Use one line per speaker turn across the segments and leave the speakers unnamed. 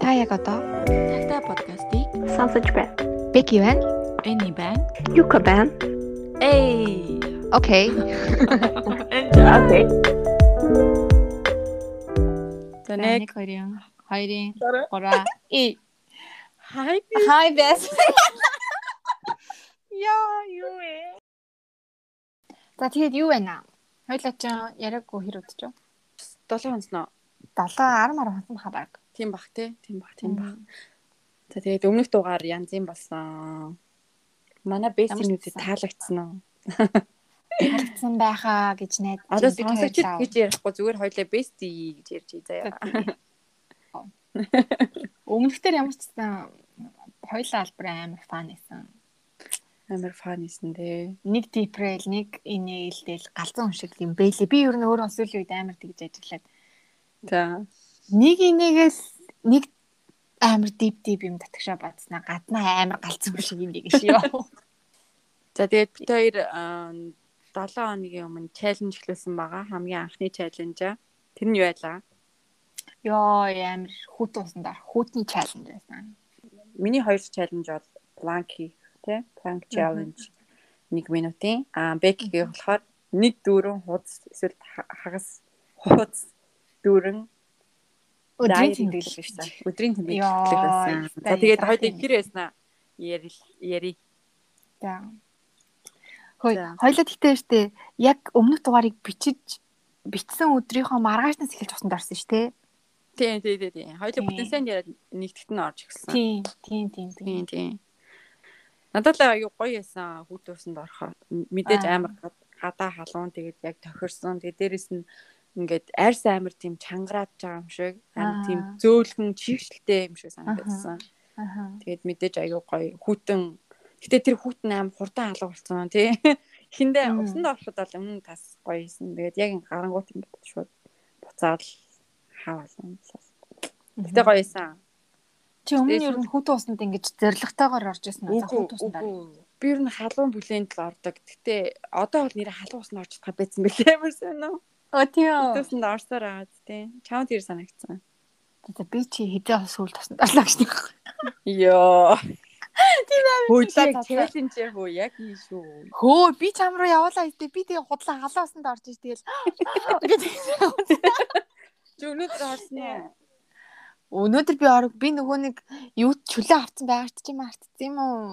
Та яг одоо
Тагтай подкастыг
сонсож байна.
Becky байна.
Эний байна.
Юка байна.
Эй.
Окей.
Энжа.
Окей.
За
За,
нэг
нэг,
хоёрын хоёрын гураа. И
Хай.
хай бэс. Яа юу вэ? За тэгэд юу байна? Хоёлаа ч яриаггүй хэрэг өдчихөө.
7 хонсноо.
7 10 10 хонсон хабаг.
Тийм бах те. Тийм бах, тийм бах. За тэгээд өмнөх дугаар янз юм болсон.
Ямар
Манай бэсийн үзэд
болсон?
таалагдсан уу?
Харагдсан байхаа гэж найд.
Одоо сонсогч гэж ярихгүй зүгээр хоёлаа бэсти гэж ярьж байгаа заяа.
өмнөхдөр ямар ч гэсэн хоёлаа албар амар фан байсан.
Амар фанисэн дээ.
Нэг дипрэл, нэг инээлдэл галзуу хүн шиг юм бэлээ. Би ер нь өөрөө сүүлийн үед амар тэгж ажиллаад
За.
нэг инээгээл нэг амар дип дип юм татгшаа бацнаа гаднаа амар галзуу шиг юм нэг шиг ёо.
За тэгээд бид хоёр аа, 7 хоногийн өмнө чаленж эхлүүлсэн байгаа. Хамгийн анхны чаленж аа. Тэр нь юу байлаа?
Ёо амар хүүт уусан даа хүүтний чаленж байсан.
Миний хоёр чаленж бол plank хийх тий, plank challenge 1 минутын. Аа Беккигийн болохоор 1 дүүрэн хуудас эсвэл ха- хагас хуудас дүүрэн
Өдрийн
дайр
тэмдэглэл
хийх
байсан.
гэсэн. Өдрийн тэмдэглэл
Йоо,
байсан. За
баярлалаа.
тэгээд хоёул хэр ясна? Яри яри.
За. Хөөе,
За.
хоёлаа тэгтээ штэ яг өмнөх дугаарыг бичиж бичсэн өдрийнхөө маргаашнаас эхэлж усанд орсон штэ.
Тий, тий, тий, тий. Хоёул
Тийм.
бүтэн сайн яриад нэгтгэт нь орж ирсэн.
Тийм, тийм, тийм,
Тий, тий. Надад л аюу гоё ясна хүүд усанд орохоо. Мэдээж
Аа.
амар гад- гадаа халуун тэгээд яг тохирсон. Тэгээд дээрэс нь ингээд арьс амар тийм чангараад байгаа юм шиг. Амар тийм
Аа.
зөөлгөн чигшэлтэй юм шиг
Аха.
санагдсан.
Аха.
Тэгээд мэдээж аюу гоё хүүтэн. Гэтэ тэр хүүтэн амар хурдан алга болсон тий. Хиндэ
Мм.
усанд ороход бол өмнө тас гоё юмсэн. Тэгээд яг ин- гарангуут юм бол шууд буцаад л хаа болно. Гэтэ гоё юмсан.
Чи өмнө нь ер нь хүүт уусанд ингэж зоригтойгоор орж ирсэн үү? За,
Үгүй
Хүүт уусанд орсон.
үгүй. Би ер нь халуун бүлэнд л ордог. Гэтэ одоо бол нэр халуус нь орж байгаа байсан бэлээ юмсэн үү?
Оо тийм. үү?
Тусанд орсоор аваад тий. Чамд хэр санагдсан?
За, Би чи хэдэн хос сүүл тусанд орлоо гэж нэг.
Йоо. Хөөж
чи
яг
яг
челленж хөө яг ий шүү.
Хөө би чам руу явуулаа гэдэг. Би тэгээ худлаа халуусанд орж иш тэгэл.
Өнөөдөр орсон уу?
Өнөөдөр би орог би нөгөө нэг юу чөлөө авцсан байгаа ч юм артц юм уу?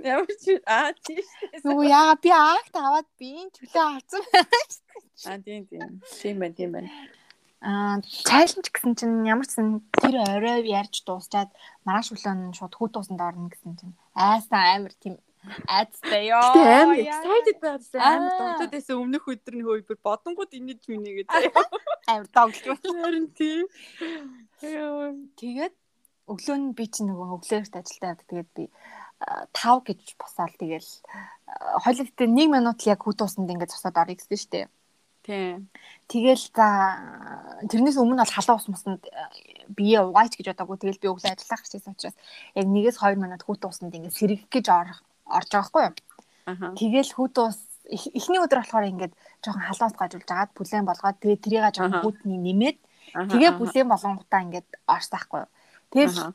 Ямар ч аа тийш.
Нөгөө яага би акт аваад би энэ чөлөө авцсан.
Аа тийм тийм. Тийм байна тийм байна.
Аа, чаленж гэсэн чинь ямар ч сан тэр орой ярьж дуусчаад маргааш өглөө нь шууд хүү туусанд орно гэсэн чинь айсаа амар тийм айцтай ёо.
Гэтэ амар
яа.
excited байгаадсэн амар
Аа.
донтод байсан өмнөх өдөр нь хөөе бүр бодонгууд инеж минийгээ заяа.
амар тоглож.
Харин тийм. Йоо.
Тэгээд өглөө нь би чинь нөгөө өглөөрт ажилдаа явдаг. Тэгээд би 5 гэж босаал тэгэл хойлогт 1 минут л яг хүү туусанд ингээд зогсоод орё гэсэн шүү дээ.
Тийм.
Тэгэл за тэрнээс өмнө бол халуун ус мусанд бие угаач гэж бодоагүй. Тэгэл би өглөө ажиллах гэсэн учраас яг нэгээс 2 минут хүүт уусанд ингээд сэргэх гэж орох орж байгаа хгүй юу.
Аха.
Тэгэл хүүт ус эх- эхний өдөр болохоор ингээд жоохон халуун ус гажуулж агаад бүлээн болгоод тэгээ тэрийг
Аха.
жоохон хүүтний нэмээд
аха,
тэгээ
аха.
бүлээн болгонгуудаа ингээд орсон байхгүй юу. Тэгэл
Аха.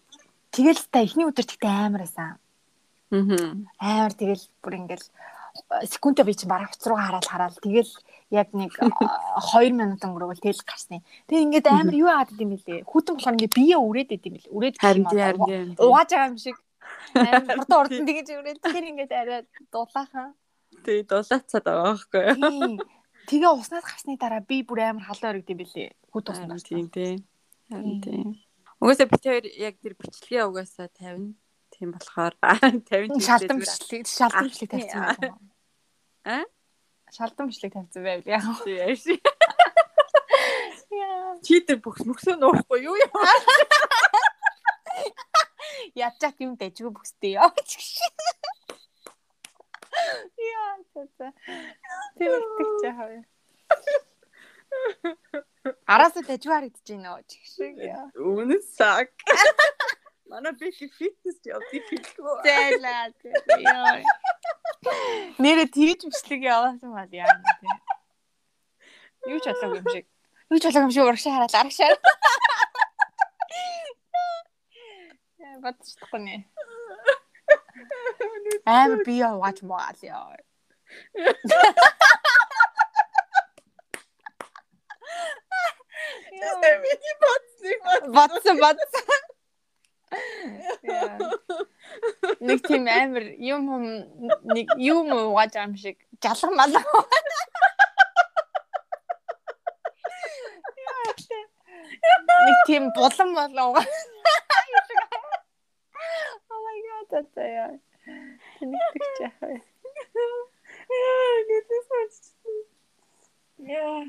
тэгэл та эхний өдөр тэгтээ амар байсан.
Мгм.
Амар тэгэл бүр ингээл э, секундэ би чинь бараг уцрууга хараал хараал тэгэл яг нэг 2 минут өнгөрөөл тэгэл гарсны. Тэг ингээд амар юу яагаад гэдэг юм бэлээ. Хүүтэн болохоор ингээд бие үрээд байт юм бэл. Үрээд гэх
Харин
юм
тийм
аа,
харин тийм.
Угааж байгаа юм шиг. Амар хурдан урдан тэгэж үрээд тэр ингээд арай дулаахан.
Тий дулаацаад байгаа байхгүй юу?
Тийм. Тэгээ уснаас гарсны дараа би бүр амар халуун өргөд юм бэлээ. Хүүт усна.
Харин тийм тий.
Тийм.
Харин тийм. Угаасаа бид хоёр яг тэр бичлэгээ угаасаа 50 тийм болохоор 50
Шалдамчлыг шалдамчлыг
Ах, тий,
тавьсан байх юм. Аа?
аа.
Шалдамчлыг тавьсан байв яа.
шалтай. Чи тэр бүх мөксөө нуухгүй юу юм?
Ядчих юм дажгүй бүхстэй яа ч гэж. Яа тата. Тэр их жахав. Араас дажгүй харагдаж байна уу ч гэж.
Өмнө сак. Манай бэки фитнес явдаг хэлгүй.
Зайлаа. Яа. Нэрэ тэгж мчлэг яваасан бол яа.
Юу ч болоогүй юм шиг.
Юу ч болоогүй юм шиг урагшаа хараад арагшаа. Яа батчихгүй нэ. Амар би яваач маал яа.
Тэр миний бодсныг бод.
Батсан батсан. Яа. Нэг тийм амар юм юм нэг юм ууж ам шиг жалах мал. Нэг тийм булан болоо. Oh my god that's яа. Тэнийх чаа.
Нүдэс болж. Яа.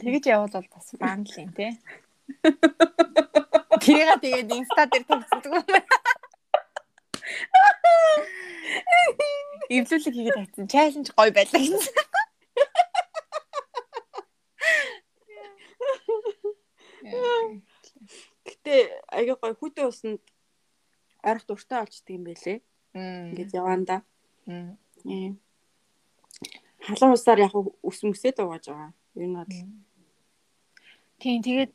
Тэгж явал бол бас баанлын тий. Тэрийг тэгээд инста дээр тавьчихдаг юм байна. Эвлүүлэг хийгээд тавьсан. Чаленж гоё байлаа гэсэн.
Гэтэ аяга гой хүүтэй усанд арх дуртай олчдаг юм байлээ. Ингээд яваанда.
Мм.
Ийм. Халуун усаар яг ус мөсөд угааж байгаа. Ер нь бол
Тийм тэгээд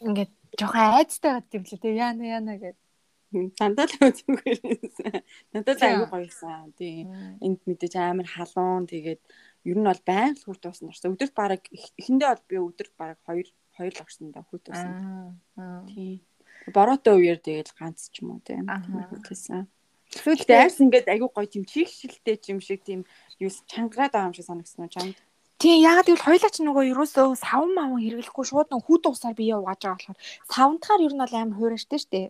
ингээд жоохон айцтай байт юм лээ. Тэгээ яана яана гэд.
дандаа л үзүүгээр юмсан. Дандаа л
Тийм.
аяга гойсан. Тийм. Энд мэдээж амар халуун тэгээд ер нь бол байн л хүүтэй усанд орсон. Өдөрт бараг эх- эхэндээ бол би өдөрт бараг 2 2 л орсон да хүүтэй усанд. Тийм. Бороотой үеэр тэгээд ганц ч юм уу тийм.
Аха.
Хэлсэн. Гэтэ
Сүүлдээ
айс ингээд айгүй гоё тийм чигшилтэй ч юм шиг тийм юус чангараад байгаа юм шиг санагдсан уу чамд?
тийм ягаад гэвэл хоёлаа ч нөгөө ерөөсөө савн маван хэрэглэхгүй шууд нөгөө хүүд усаар бие угааж байгаа болохоор савнтахаар ер нь бол амар хуураштай шүү дээ.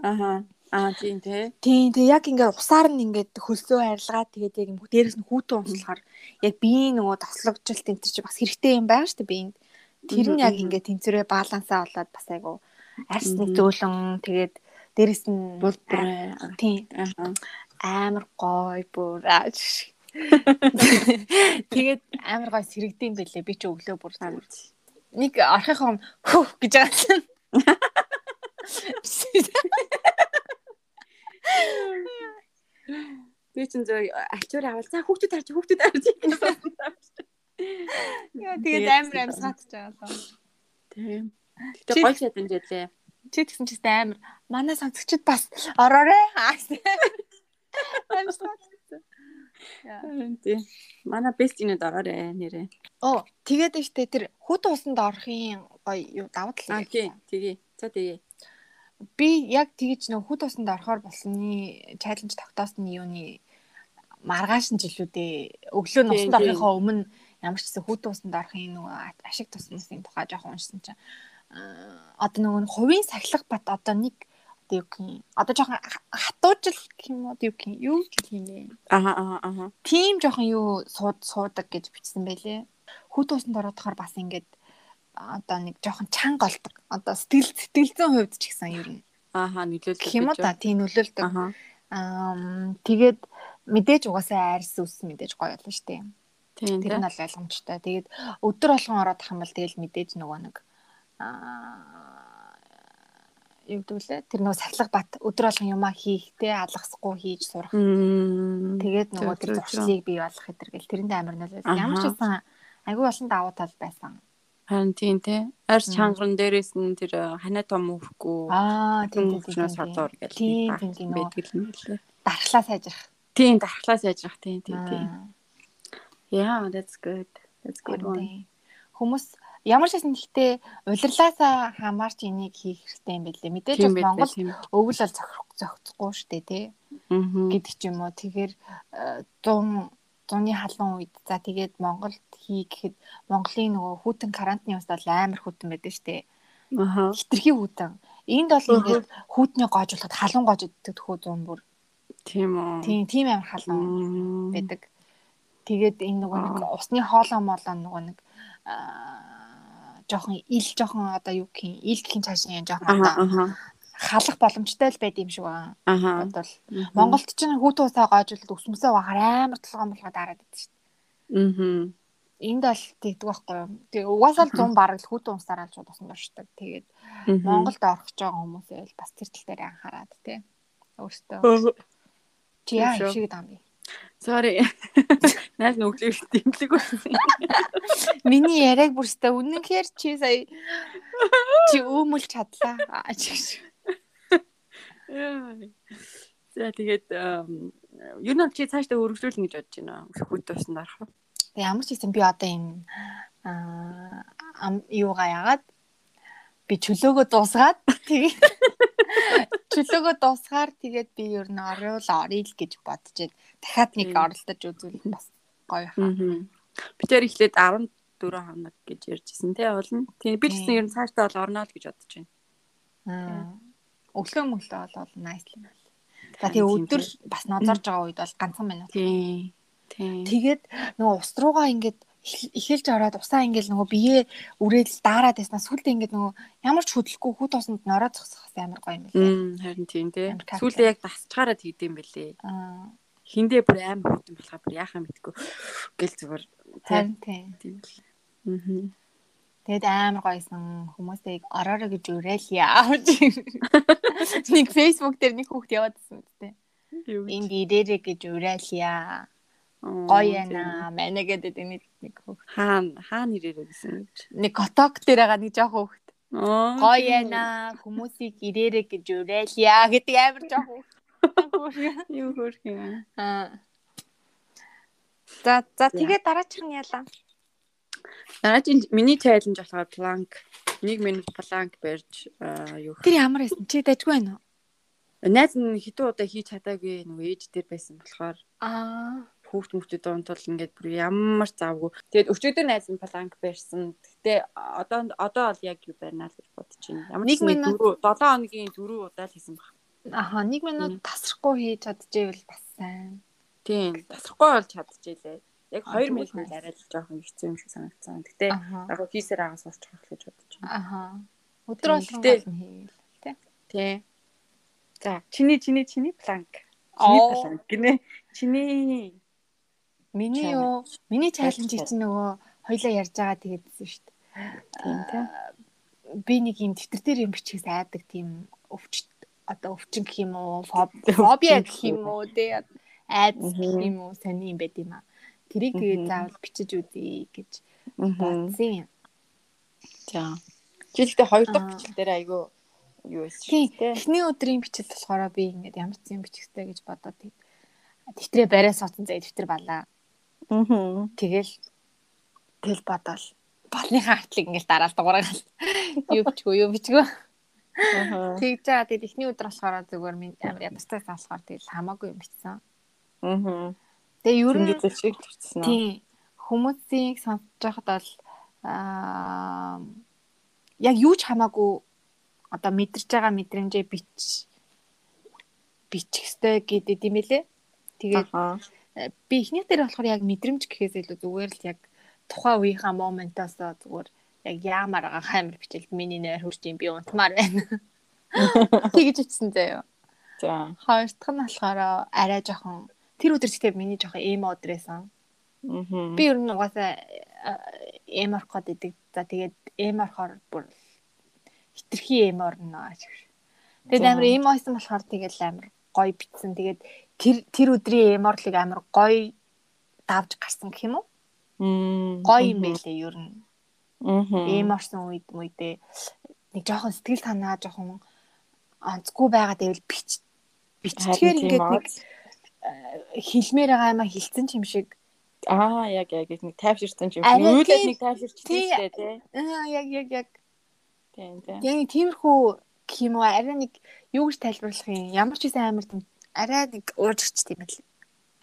Аха. Аа тийм тий.
Тийм тийм яг ингээд усаар нь ингээд хөлсөө арилгаа тэгээд яг юм хүү дээрээс нь хүүтэн унслахаар яг биеийн нөгөө таслагжилт энэ төр чи бас хэрэгтэй юм байгаа шүү дээ биеинд. Тэр нь яг
Мгм.
ингээд тэнцвэрээ балансаа болоод бас айгу арсны
Мгм.
зөөлөн тэгээд дээрээс нь
Булбраа.
тийм
Аха.
амар гоё бүр ааш. Тэгээд амар гоё сэрэгдэм байлээ би ч өглөө бүр
Амар.
нэг орхихоо хөх гэж аасан.
Би ч зөв ачуур авал цаа хүүхдүүд харж хүүхдүүд харж гэсэн.
Яа тэгээд
Тэгээд
амар амсгаач жаалаа.
Тийм.
Чи-
Гэтэ гоё чаданж байлээ.
Чи тэгсэн чигт амар. Манай сонсогчид бас ороорой. Амсгаач.
Тийм. Манай best инэд ороорой нэрээ.
Оо тэгээд ихтэй тэр хүүт усанд орохын гоё юу давуу тал.
Аа тий. Тэгээ. За тэгээ.
би яг тэгж нөх хүд усанд орохоор болсны чаленж тогтоосны юуны маргааш нь жилүүдээ өглөө нь
Тийм,
усанд орохынхоо өмнө ямар ч гэсэн хүд усанд орохын нөгөө а- ашиг тусмын тухай жоохон уншсан чинь аа, одоо нөгөө нь хувийн сахилах бат одоо нэг одоо юу гэх юм, одоо жоохон ха- хатуужил гэх юм уу одоо юу гэх юм, юу гэх юм бэ
Аха аха аха.
тийм жоохон юу сууд суудаг гэж бичсэн байлээ. Хүүт усанд ороодохоор бас ингээд а, одоо нэг жоохон чанга болдог. Одоо сэтгэл сэтгэл зүйн хувьд ч гэсэн ер нь.
Аха нөлөөлдөг.
Гэх юм уу
гэж
та тийм нөлөөлдөг.
Аха.
Аа тэгээд мэдээж угаасаа айрс үс мэдээж гоё болно шүү дээ.
Тийм.
Тэр нь бол ойлгомжтой. Тэгээд өдөр болгон ороод ах юм бол тэгэл мэдээж нөгөө нэг аа юу гэдэг лээ. Тэр нөгөө сахилах бат өдөр болгон юмаа хийхтэй алгасахгүй хийж сурах
Мм.
Тэгээд нөгөө
Зөв,
тэр
зөв, зөв.
зуршлыг бий болох хэтергээл тэрэнд амар нөлөө.
Аха.
Ямар ч байсан агүй олон давуу тал байсан.
Харин тийм тий. Арс
Мм.
чангарн дээрээс нь тэр э, ханаа том өвхгүй.
Аа тийм тийм
тийм
тийм.
учраас
тийм.
хадуур гэж
Тийм,
нэг
тийм, тийм,
баг байдаг юм билээ.
Дархлаа сайжрах.
Тийм дархлаа сайжрах тийм тийм тийм.
Аа,
Yeah, that's good. That's good
харин
one.
тийм. Хүмүүс ямар ч байсан гэхдээ улирлаасаа хамаарч энийг хийх хэрэгтэй юм билээ. Мэдээж
Тийм
бас
байх
Монгол
тийм.
өвөл бол зохирох зохицохгүй шүү дээ тий.
Мгм.
гэдэг ч юм уу. Тэгэхээр 100 100-ны халуун үед за тэгээд Монголд хий гэхэд Монголын нөгөө хүүтэн карантины ус бол амар хүүтэн байдаг шүү дээ.
Аха.
хитрхи хүүтэн. Энд бол ингээд хүүтний гоож болоход халуун гоож өгдөг тхүү зүүн бүр.
Тийм үү.
Тийм тийм амар халуун
Мм.
байдаг. Тэгээд энэ нөгөө нэг усны хоолоо молоо нөгөө нэг аа жоохон ил жоохон одоо юу гэх юм ил гэх юм цааш нь жоохон
Аха
одоо
аха.
халах боломжтой л байд юм шиг байна.
Аха.
Бодвол Монголд ч нэг хүүтэн усаа гоож өгдөг өсмөсөө бахаар амар толгоом болохоо дараад идэв шүү дээ.
Мм.
энд бол тэгдэг байхгүй юу. Тэгээ угаасаа л 100 бараг л хүүтэн умсаар алж удасан дуршдаг. Тэгээд Монголд орох гэж байгаа хүмүүс байвал бас тэр тал дээр анхаарат тий. Өөртөө чи яа
Тийм шүү.
шиг дам би.
Sorry. Найс нүглийг дэмлэг болсон.
Миний яриаг бүрстэ үнэнхээр чи сая чи өөмөл чадлаа. Аа, чи гэж.
За тэгээд эм, ер нь бол чи цаашдаа өргөжүүлнэ гэж бодож байна. Хөт тусна арах. уу?
Тэг ямар ч гэсэн би одоо энэ аа ам- юугаа яагаад би чөлөөгөө дуусгаад тэгээ чөлөөгөө дуусгаар тэгээд би ер нь орвол орё л гэж бодож байна. Дахиад нэг
Мм.
оролдож үзвэл бас гоё хаа.
Би тэр ихлээд 14 хоног гэж ярьжсэн тий олно. Тий би ч гэсэн ер нь цаашдаа бол орно л гэж бодож байна.
Аа. Өглөө мөглөө бол nice л байна. За
Харин
тэгээ
тийм
өдөр
тий.
бас нодорж байгаа үед бол ганцхан минут.
Тий. Тий.
Тэгээд нөгөө ус руугаа ингээд эхэл- эхэлж ороод усаа ингээд нөгөө биеэ үрээд даарад байснаа сүлд ингээд нөгөө ямар ч хөдлөхгүй хүү тосонд нороо зогсохс амар гоё юм билээ.
Мм харин тийм тий.
Амар таатай.
Сүүлдээ яг дасчгаараа тэгдэм бэлээ.
Аа.
Хиндээ бүр аим хөтөн болохоор бүр яхаа мэдгүй гэл зүгээр тий.
Харин тийм.
Тийм л. Аа.
Тэгээд амар гоёсэн хүмүүстэйг ороорой гэж уриал явж. Нэг Facebook дээр нэг хүүхд яваадсэн үсттэй.
Юу гэж.
Энд ирээрэй гэж уриал яа.
Оо,
Гоё
тий.
ээ. Манай гэдэг нэг нэг хүүхд.
Хаана хаана ирээрээ гэсэн гэж.
Нэг коток дээр байгаа нэг жоох хүүхд.
Оо.
гоё яана хүмүүсийг ирээрэй гэж уриалъя гэдэг амар жоох үү.
Юу хөрх юм.
Аа. За за тэгээ дараачих нь ялаа.
Дараагийн миний challenge болохоор plank 1 минут plank барьж аа, юу
Тэр ямар байсан чи дажгүй байна уу?
Найз нь хитүү удаа хийж чадаагүй нөгөө ээж дээр байсан болохоор
Аа.
хүүхд мөхдөд донд бол ингээд бүр ямар завгүй. Тэгээд өчигдөр найз нь планк барьсан. Гэтэ одоо одоо бол яг юу барина л гэж бодож байна. Ямар ч
Нэг
нэг
минут.
4 7 хоногийн 4 удаа л хийсэн баг.
Аха нэг минут тасрахгүй хийж чадчихвэл бас сайн.
Тийм. Тасахгүй бол чадчихжээ. Яг 2 минут
тэгвэл
арай л жоохон хэцүү юм шиг санагдсан. Гэтэ
Аха.
яг хөө хийсээр агаас урчих гэж бодож байна.
Аха. Өдөр болгон
Тэгтээ-
гол нь хийгээл.
Тий. За, чиний чиний чиний планк. Чиний
Оо.
планк гинэ. Чиний.
Миний юу? Миний чаленж чинь нөгөө хоёлаа ярьж байгаа тэгээдсэн шүү дээ.
Тийм тий.
Би нэг юм тэтэр дээр юм бичих сайдаг тийм өвч одоо өвчин гэх юм уу, фоб- фобиа гэх юм уу, тэ айдас гэх юм уу, сони юм байт юм аа. Тэрийг
Мгм.
тэгээ заавал бичиж үзье гэж бодсон юм.
За. Жилдээ хоёр
Аа.
дахь бичлэл дээр айгүй юу байсан
Тийм.
шүү дээ.
Эхний өдрийн бичил болохоор би ингээд ямар ч юм бичихтэй гэж бодоод тийм. Тэтрээ барай суусан зэ тэтэр балаа.
Аа.
Тэгэл тэл бодоол. Болныхаа артлыг ингээд дараал дуурайгаал. Юу бичгөө, юу бичгөө. Тэгж байгаа. Тэгэл эхний өдөр болохоор зүгээр минь амар ядартай салахаар тэгэл хамаагүй юм бичсэн.
Аа.
Тэгээ ер нь
Юу гэж шиг төрчихсөн аа.
тийм хүмүүсийг сонсож байхад бол аа яг юу ч хамаагүй одоо мэдэрч байгаа мэдрэмжээ бич бичих ёстой гэдэг юм элэ. Тэгээд э,
Аа.
би эхний дээр болохоор яг мэдрэмж гэхээс илүү зүгээр л яг тухайн үеийнхаа моментоос зүгээр яг яамаар байгаа хаймар бичэлт миний нэр хурж юм би унтмаар байна. Тэгж утсан заяа.
За.
Хоёр дахь нь болохоор арай жоохон тэр өдөр ч гэдэг миний жоохон эмо өдрөөсөн.
Аа.
Би ер нь угаасаа эм орох гээд идэг. За тэгээд эм орохоор бүр хитрхи эм орно гэж. Тэгээд
За.
амар эм ойсон болохоор тэгэл амар гоё битсэн. Тэгээд тэр тэр өдрийн эм орлыг амар гоё давж гарсан гэх юм уу? Гоё юм байлээ ер нь.
Аа.
Эм орсон үед мүйдээ нэг жоохон сэтгэл санаа жоохон онцгүй байгаа дэвэл бич бичгээр ингээд нэг хилмээр байгаа юм а хилцэн ч юм шиг
аа яг яг яг нэг тайвширсан юм.
Арай
Үүлээд
тийм.
нэг тайвширч
Тий.
тийштэй тий.
аа Э, яг яг яг
Тийм тий.
Яг нэг тиймэрхүү гэх юм уу арай нэг юу гэж тайлбарлах юм ямар ч хэсэн амар тийм арай нэг уурчч тийм байл.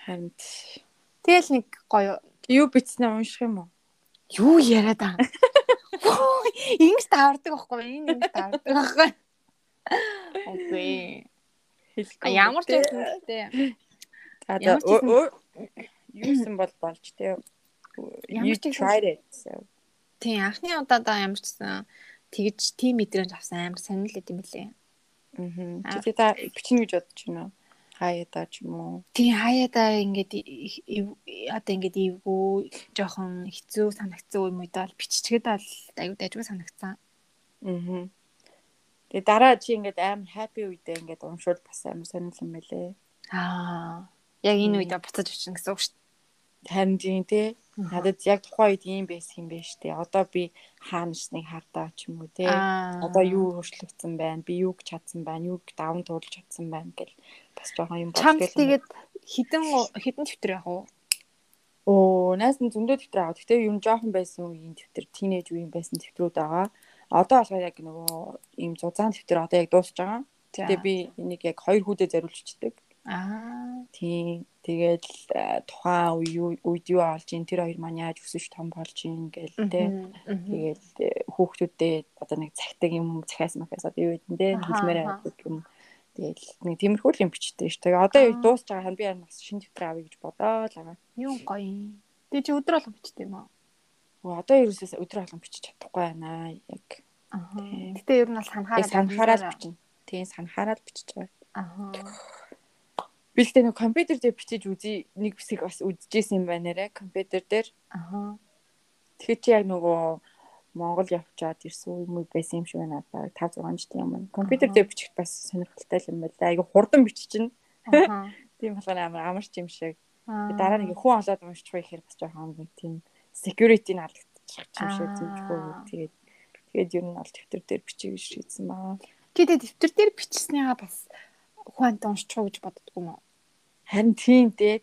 Харин
Тэгэл нэг гоё
юу бичснээ унших юм уу?
юу яриад аа. Ингээс таардаг байхгүй энэ юм таардаг байхгүй. Окей. А
Хэлэхгүй.
ямар ч байсан гэдэг.
За за
ямар ч юм-
юу юм бол болж тий. You
Ямар ч юм-
tried it. so.
Тийм анхны удаадаа ямар ч гэсэн тэгж тийм мэдрэмж авсан амар сонирхол өгд юм билээ.
Мгм.
Аа.
Чи тэ та бичнэ гэж бодож байна уу? хаяада ч юм уу.
тий хаяада ингээд и- ив- одоо ингээд ивгүй жоохон хэцүү санагцсан юм уу даа биччихэд бол аюу дайггүй санагцсан.
Аа. Тэгээ дараа чи ингээд амар хаппи үедээ ингээд уншвал бас амар сонирхолтой мэлээ.
Аа. Яг энэ үед буцаж өчнө гэсэн үг шүү
Харин тийм те.
Мгм.
Надад яг тухайн үед ийм байсан юм байна штэ. Одоо би хаанчныг хардаа ч юм уу те.
дээ. Аа.
Одоо юу хөшлөгдсөн байна? Би юуг чадсан байна? Юуг даван туулж чадсан байна гэл бас жоохон юм
чамд
бодгийл юм байна.
тэгээд хідэн хідэн төвтөр яг уу?
Оо, наас нь зөндөө тэмдэг аваад. Гэтэ юм жоохон байсан үеийн тэмдэг, тинейж үеийн байсан тэмдгүүд байгаа. Одоо болохоор яг нөгөө ийм зузаан тэмдэг одоо яг дуусж байгаа. Гэтэ би энийг яг хоёр хүүдэд зориулчихдаг.
аа
Тийм. Тэгэл э, тухайн үе юу- үед юу олж ин тэр хоёр маань яаж өсөж том болж ин гэл тэ.
Мгм.
Тэгээд э, хүүхдүүдэд одоо нэг цагтаг юм захиас махаас одоо юу гэдэг нь тэ
Аха,
хэлмээр
аха.
байдаг юм. Тэгээд нэг тиймэрхүү л юм бичдэг шүү. Тэгээ одоо яг
Аа.
дуусж байгаа хан би харин бас шинэ тэмдэг авъя гэж бодоо л байгаа.
Юу гоё. Тэг чи өдөр болго бичтэй юм аа.
Оо, одоо ерөөсөө өдөр алган бичиж чадахгүй байна. Яг
Аа.
Тийм.
Гэтэ ер нь бол санахаараа.
яг санахаараа л бичнэ. Тийм санахаараа л бичиж байгаа.
Аа.
Би л тэ нэг компьютер дээр бичиж үзье. Нэг хэсэг бас үзчихсэн юм байна нэрэ компьютер дээр.
Аа.
Тэгэхээр чи яг нөгөө Монгол явчаад ирсэн юм уу байсан юм шиг байна даа 5 6 жилийн өмнө. Компьютер
Аха.
дээр бичих бас сонирхолтой л юм байлаа. Айгу хурдан биччихнэ.
Аа.
Тийм болохоор амар амарч юм шиг.
Аа.
Дараа нэг хүн олоод уншчих вэ гэхээр бас жоохон нэг тийм security-г алдчих юм шиг
Аа.
зэмжгүй. Тэгээд тэгээд ер нь аль төвтөр дээр бичиж гэж шийдсэн баа.
Гэтэ төвтөр дээр бичснийга бас хуант уншчихо гэж боддгоо юм уу?
Харин тийм дээ.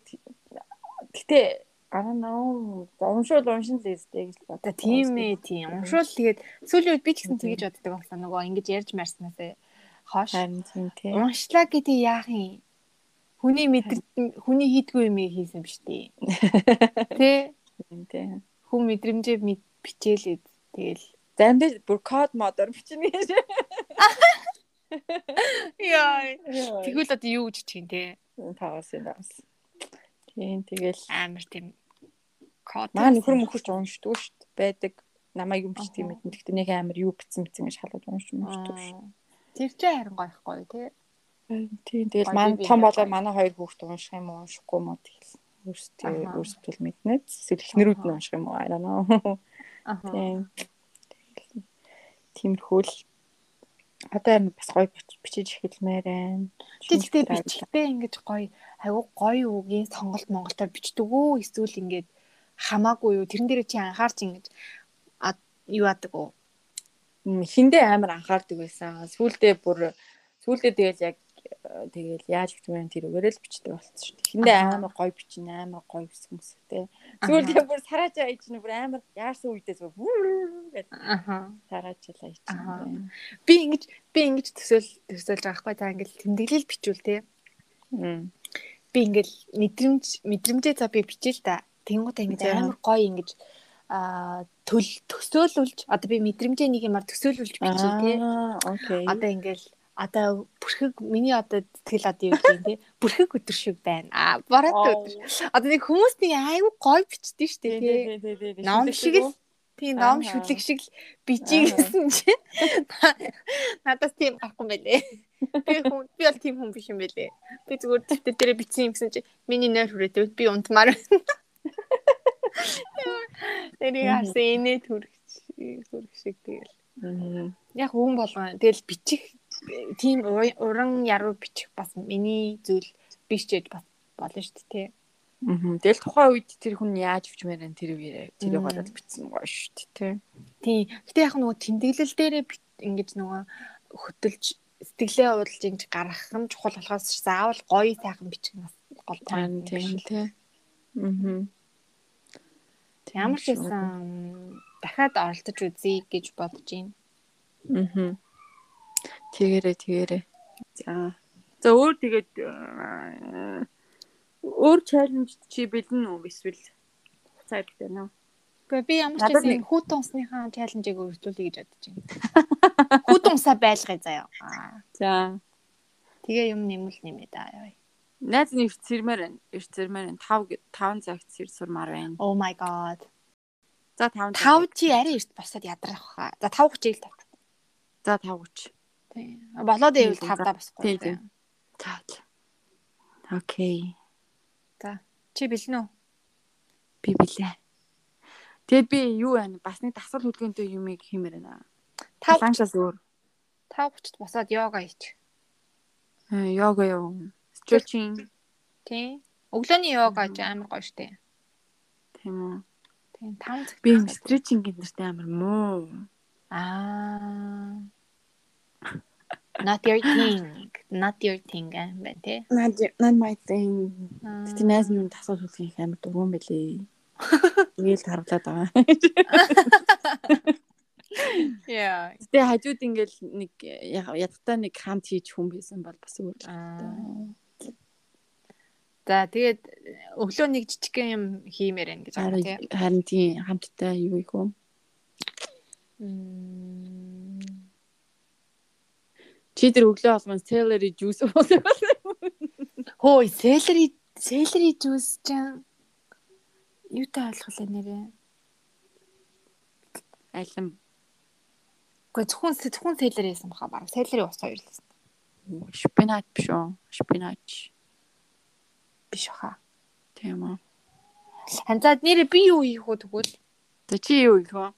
Гэтэ I don't know. Уншвал уншин л ээ гэж бодож.
За тийм ээ тийм. Уншвал тэгээд сүүлийн үед би ч гэсэн
Мгм.
тэгэж боддог байсан нөгөө ингэж ярьж марснасаа хоош.
Харин тийм тий.
Уншлаа гэдэг яах юм? Хүний мэдэр хүний хийдгүй юм хийсэн биш үү? Тэ
Тийм тий.
хүн мэдрэмжээ мэд- бичээлээд тэгэл
Заримдаа бүр код модор бичнэ гэж.
Яй.
Тэгвэл
Тэгвэл одоо юу гэж чинь те?
таваас юм бас. Тийм тэгэл
Амар тийм код.
маа нөхөр мөхөрч уншдаг шүү дээ. Байдаг. Намаа юм бичдэг юм гэдэг. Тэгтээ нэг амар юу бичсэн бичсэн гэж халууд уншиж уншдаг шүү.
Тэр ч харин гойхгүй те.
Тийм
Гоё,
тэгэл маань
би би
том
яа.
болоо манай хоёр хүүхд унших юм уу уншихгүй юм уу тэгэл өөрсдөө
Аха.
өөрсдөө л мэднэ. Сэтгэлнэрүүд нь
Аха.
унших юм уу? I don't know.
Аа.
Тийм. Тиймэрхүү л одоо амар бас гоё бич- бичиж эхэлмээр байна.
Тэгтээ бичгтээ ингэж гоё айгу гоё үгийн сонголт Монголоор бичдэг үү? Эсвэл ингэж хамаагүй юу? Тэрэн дээр чи анхаарч ингэж а- юу яадаг уу?
М, Эхэндээ амар анхаардаг байсан. Сүүлдээ бүр сүүлдээ тэгэл яг э, тэгэл яаж бичмээр байна тэрүүгээр л бичдэг болсон шүү дээ. Эхэндээ
Аха.
амар гоё бичнэ, амар гоё өсгөмсөтэй. Сүүлдээ бүр сараачаа ичнэ, бүр амар яарсан үедээ зүг гэж
Аха.
сараачаа
Аха.
ичнэ.
Би ингэж би ингэж төсөөл төсөөлж байгаа хгүй та ингэж тэмдэглэл бичүүл те.
Мм.
би ингээл мэдрэмж мэдрэмжээ за би бичээл та. Тэнгуут ингэж
За.
амар гоё ингэж аа төл төсөөлүүлж одоо би мэдрэмжээ нэг юмар төсөөлүүлж бичээл те.
Аа, окей.
Одоо ингээл одоо бүрхэг миний одоо тэтгэл одоо юу гэдэг те. Бүрхэг өдөр шиг байна. Аа бороод өдөр. Одоо нэг хүмүүс нэг айгүй гоё бичдэг шүү дээ те.
тий.
Ном шиг л тийм ном
Ааха.
шүлэг шиг л бичиг
Ааха.
гэсэн чи надаас тийм гарахгүй байлээ. Би хүн би бол тийм хүн биш юм байлээ. Би зүгээр дэвтэр дээр бичсэн юм гэсэн чи миний нойр хүрээд байв. би унтмаар байна. Тэрийг харсан инээ төрөгч төрөг шиг тэгэл. Яг хүн болгоо тэгэл бичих тийм уй- уран яруу бичих бас миний зүйл биш ч гэж бас болно шүү дээ.
Мм. Тэгэл тухайн үед тэр хүн яаж бичмээр байна тэр үеэр тэрийг
Мм.
бодоод бичсэн гоё шүү дээ, тий.
Тий. Гэтэ яг нөгөө тэмдэглэл дээрээ бит- ингэж нөгөө хөтөлж сэтгэлээ уудалж ингэж гаргах нь чухал болохоос ч заавал гоё сайхан бичих нь бас гол тань
Тань тийм тий. Мм.
Ямар ч байсан дахиад оролдож үзье гэж бодож байна.
Мм. Тэгээрэ тэгээрэ.
За.
За өөр тэгээд аа, өөр challenge чи бэлэн үү эсвэл цайг байна уу?
Гэхдээ би ямар ч
Надад
байсан
нэг-
хүүт унсныхаа чаленжийг өргөжлүүлэе гэж бодож байна. Хүүт унсаа байлгая заяа. Аа,
За.
Тэгээ юм нэмэл нэмээд аа.
Найз нь их цэрмээр байна. Их цэрмээр байна. 5 5 цагт цэр сурмаар байна.
Oh my god.
За 5
Тав чи арай эрт босоод ядрах хаа. За тав хүчийг тав.
За 5 хүч.
Тий. Болоод ивэл
Тийм,
тавдаа
тийм,
босхгүй.
тийм. За. Окей.
Чи бэлэн үү?
Би билээ. Тэгэд би юу байна? Бас нэг дасгал хөдөлгөөнтэй юмыг хиймээр байна.
Тав
Таланшаас өөр.
5:30-т босоод йога хийч.
Э, Йога юу? Stretching
Тий. Өглөөний йога ч амар гоё штэ.
тийм үү?
Тий. 5 цаг.
Би stretching гэнэртэй амар муу.
Аа. Not your thing. Not your thing гэм бэ тий.
Not not my thing.
Аа.
Тэгтээ найз минь дасгал хөдөлгөөн их амар дургуун байлээ. Тэгэл тарлаад байгаа.
Яа.
Тэгтээ хажууд ингээл нэг яг- ядтаа нэг хамт хийж хүн байсан бол бас өөр.
Аа. За тэгээд э, өглөө нэг жижиг юм хиймээр байна гэж байгаа тийм.
Харин харин тийм хамттай юу их юм.
Мм.
Чи тэр өглөө олмон celery juice уусан бол
Хөөе, celery celery juice чинь юутай ойлголоо нэрээ.
алим
Гэхдээ зөвхөн зөвхөн celery байсан баха баруун. Celery ус хоёр л байсан.
шпинат биш үү? Шпинат
Биш баха.
тийм үү?
Ханзаад нэрээ би юу хийх вэ тэгвэл?
За чи юу их вэ?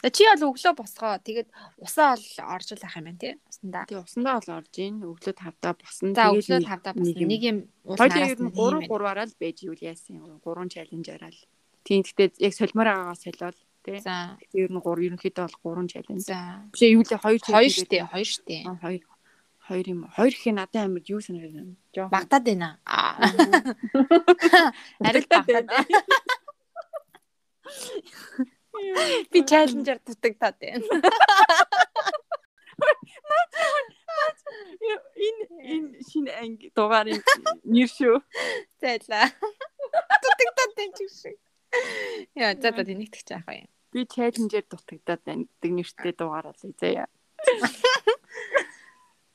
За, Чи бол өглөө босгоо. Тэгээд усаа ол орж л ах юм байна тийм. Усандаа.
Тэг усандаа бол орж ийн өглөө тавдаа босно.
За өглөө тавдаа бас нэг юм уус
Хоёлын
араас
ер
нь
нь 3
хиймээр.
3-аараа л байж юу яасан юм. 3 challenge араа л. Тийм гэхдээ яг солимоор байгаагаа солиол тий.
За.
Ер нь 3 ерөнхийдөө бол 3 challenge.
За.
Биш юу лээ 2
Хоёр штэ, хоёр штэ.
Хоёр хоёр юм. Хоёр их надад амар юу санагдав юм. Жоо.
Багтаад байна. Аа. Арил
Багтаад
багтаад байна. Би чаленжер дутагдаад байна.
Э, Энэ энэ шинэ анги дугаарын нэр шүү.
Зайлаа. Дутагдаад байна ч гэсэн. Яа, за за тэнийх тэгчих яах вэ?
Би challenger дутагдаад байна гэдэг нэртэй дугаар олъё заяа.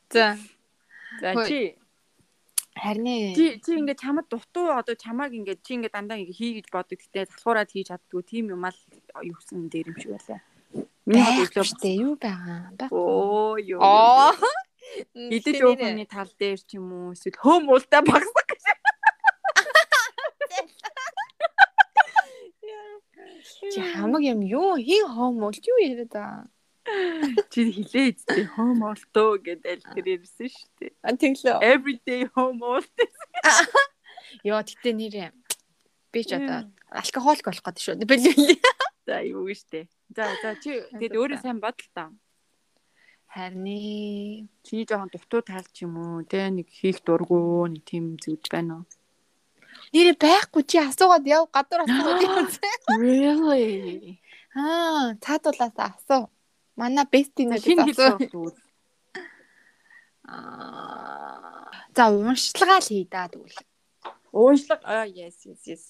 За.
За
Хөөе.
чи
Харин ээ.
чи чи ингээд чамд дутуу одоо чамааг ингээд чи ингээд дандаа ингээ хий гэж боддог. Гэтэ залхуураад хийж чаддгүй тийм юм ал юусэн дээр юм шиг байлаа. Миний хувьд
Байхгүй
өглөө
штэ, юу байгаа? Байхгүй.
Оо юу.
Оо.
Идэж өөхний тал дээр ч юм уу эсвэл хөөм уултаа багсах гэж.
Чи хамаг юм юу хин хоомол юу яриад байгаа?
Чи хилээ эцтэй хөөм уултөө гэдэг аль тэр ирсэн шүү дээ.
А тэглөө.
Everyday home уулт.
Йоо, тэгтээ нэрээ. Би ч одоо
Яа.
алкоголик болох гэдэг шүү. Би би.
За юу гэж штэ. За за чи тэгэд
За,
өөрөө
за.
сайн бодол та.
Харин ээ.
Чиний жоохон дутуу тал ч юм уу те нэг хийх дурггүй нэг тийм зүгж байна уу?
Нэрээ байхгүй чи асуугаад яв гадуур асуугаад яв.
Really?
Аа, цаадуулаас асуу. Манай бестинээс
Шинэ хэл
асуу.
сурах зүйл.
Аа. За уншлагаа л хий да тэгвэл.
Ууншлаг аа yes yes yes.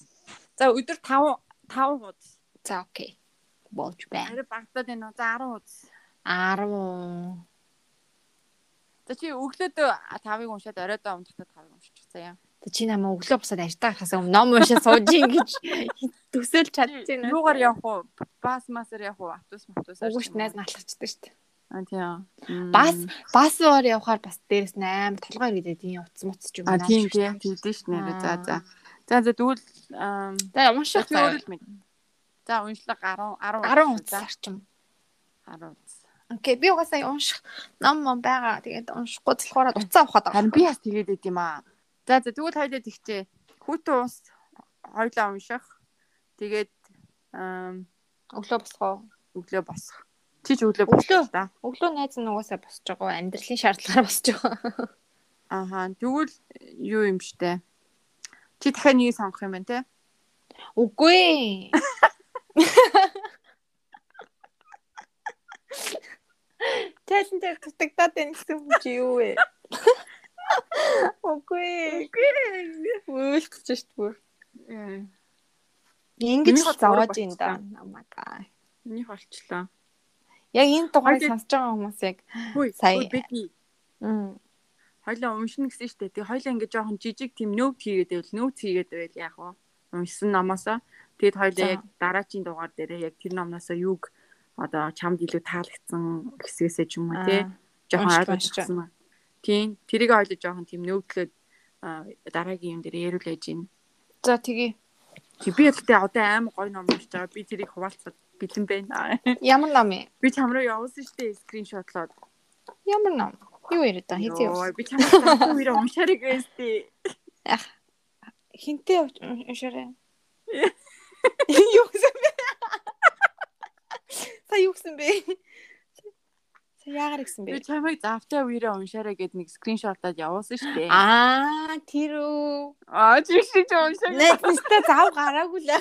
За өдөр 5 5 хуудас.
За окей. Болж байна.
Ари багтаад байна уу? За 10 хуудас.
10.
За чи өглөөд 5-ыг уншаад оройдоо унтахад 5-ыг уншчих заяа.
Тэг чи намайг өглөө босоод ажтаа гарахаас өмнө ном уншаа сууж ийн гэж төсөөл чадчихна.
Юугаар явах уу? Бас масаар явах уу? Автобус автобус.
Угш найз налхацдаг шүү дээ.
Аа тийм.
Бас бас уур явахаар бас дээрээс 8 толгой ирээд энэ утас мутас ч юм
А
нааш
тийм
шүү дээ.
тийм тийм шүү нэрэ. За за. За за тэгвэл ам,
За унших
Чи
заяа.
өөрөө л мэднэ. За уншлаг 10 10
10 удаа орчим.
10 удаа.
Окей, би угаасаа унших ном ном байгаа. Тэгээд уншихгүй болохоор уцаа авахад байгаа.
Харин би бас тэгээд байд юм аа. За за тэгвэл хоёлаа тэгчээ. Хүүтэн ус хоёлаа унших. Тэгээд ам,
Өглөө босгоо.
өглөө босох. Чи ч өглөө
Өглөө?
босох та.
Өглөө найз нь угаасаа босч байгаа. Амьдралын шаардлагаар босч байгаа.
Ааха. Тэгвэл юу юм штэ. Чи дахиад нэг сонгох юм байна те.
Үгүй ээ. Тэсэн дээр тутагдаад байна гэсэн үг чи юу вэ? Үгүй. Үйлч шүү дээ. Ингэж
Миний хол
зовоож
өөрөө
ийн да. Намага.
Минийх олчлоо.
Яг энэ дугаарыг
Хойд-
сонсож байгаа хүмүүс яг
Хөөе.
Сая.
Бидний
м,
хоёлаа уншина гэсэн штэ. Тэгээ хоёлаа ингээд жоохон жижиг тийм нөт хийгээд байвал нөт хийгээд байвал яах вэ? Уншсан номоосоо. Тэгээд хоёлаа
За.
яг дараагийн дугаар дээрээ яг тэр номноосоо юг одоо чамд илүү таалагдсан хэсгээсээ ч юм уу тий.
аа,
Жоохон
Уншиж
ойлгож
уншиж.
авсан. Тийм. Тэрийг хоёлаа жоохон тийм нөөглөөд аа, дараагийн юм дээр ярил байж гин.
За тэгье.
Чи би өлтөө одоо амар гой ном уншиж байгаа. Би тэрийг хуваалцаад бэлэн байна.
Ямар ном юм?
Би чамруу явуулсан шүү дээ скриншотлоод.
Ямар ном? Юу яриад байгаа хэзээ юу?
Йой, би чамруу үерээ уншаарай гэсэн.
Хинтээ уч- уншаарай. Юу гэсэн бэ? Та юу гэсэн бэ? Та яагаар гэсэн
Би
бэ?
чамайг завтай үерээ уншаарай гэд нэг скриншотлоод явуулсан шүү дээ.
Аа, тэр үү.
Аа чи чи чи уншаа.
Нэг нэстэ зав гараагүй л.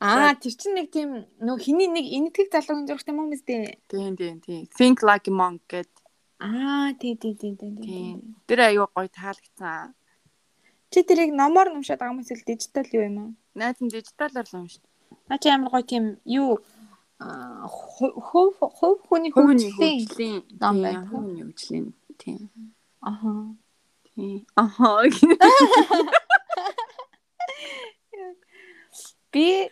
Аа, тэр чинь нэг тийм нөх хиний нэг энэтхэг залуугийн зурагтай юм биз дээ.
Тийм тийм тийм. Think like a monk гэд.
Аа, тий, тий, тий, тий, тий.
Тийм. Тэр аюу гой таалагдсан.
Чи тэрийг номоор уншаад байгаа юм эсвэл дижитал юу юм уу?
Найд нь дижиталар л уншд.
Наа чи амар гоё тийм юу аа, ху- хөв хөв хүний
Хөвгний
хөвгөлтэй.
хөгжлийн
ном
ном байх.
байдаг.
Хөвгний хөгжлийн. Тийм.
Ахаа.
Тийм. Ахаа.
Би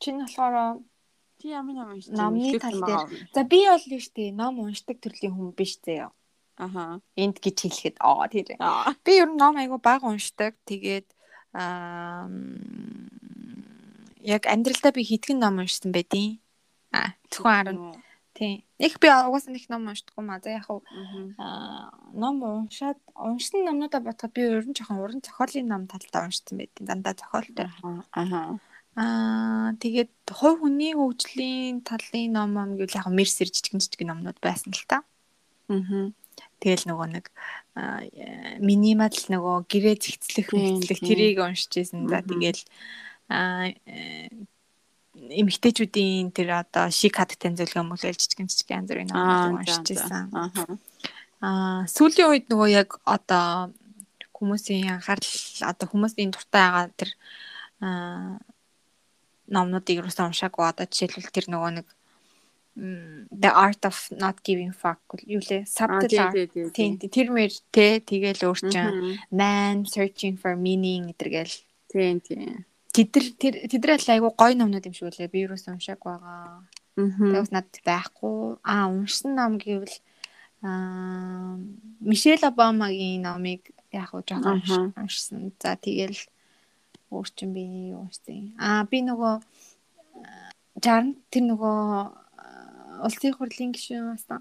чинь болохоор
Чи ямар ном уншд?
Номны тал дээр. за би бол юу штэ ном уншдаг төрлийн хүн биш зөө.
Ахаа.
Энд гэж хэлэхэд аа тийм.
Аа.
Би ер нь ном айгу баг уншдаг. Тэгээд аа м, яг амьдралдаа би хитгэн ном уншсан байдیں۔ А зөвхөн 10. Тийм. Их би угаасаа их ном уншдаг юм аа. За яг хав аа, ном уншаад уншсан номнуудаа бодоход би ер нь жоохон уран зохиолын ном талдаа уншсан байдیں۔ Дандаа зохиолтой.
Ахаа.
Аа тэгээд хувь хүний хөгжлийн талын ном ном гэвэл яг мэрсэр жижигэн жижигэн номнууд байсан л та.
Мм.
Тэгэл нөгөө нэг аа, минимал нөгөө гэрээ зэгцлэх
Тийм,
мэгцлэх
тийм.
тэрийг уншижсэн за
Мгм.
тэгэл аа э, эмэгтэйчүүдийн тэр одоо шик хаттай зөвлөгөө мөн л жижигэн жижигэн янз бүрийн
Аа,
номнууд
за, за.
уншижсэн.
Ахаа.
Аа сүүлийн үед нөгөө яг одоо хүмүүсийн анхаарал одоо хүмүүсийн дуртай байгаа тэр аа номнуудыг юусаа уншаагүй одоо жишээлбэл тэр нөгөө нэг м, The Art of Not Giving Fuck гэл- юу лээ
Аа,
subtle
тийм
art
тийм тийм.
тийм тийм, тэр мэр тэ тэгэл өөрчн
Мгм.
man searching for meaning гэдэргээл
Тийм тийм.
тэдэр тэр тэдрэл айгу гой номнууд юм шиг үлээ би юусаа уншаагүй байгаа
Мм.
Тэгээс над байхгүй. Аа уншсан ном гэвэл аа Мишель Обамагийн номыг яг уу жоохон
Аха.
уншсан. За тэгэл өөрчн би юу уншсан. Аа би нөгөө аа, 60 тэр нөгөө аа, улсын хурлын гишүүн басна.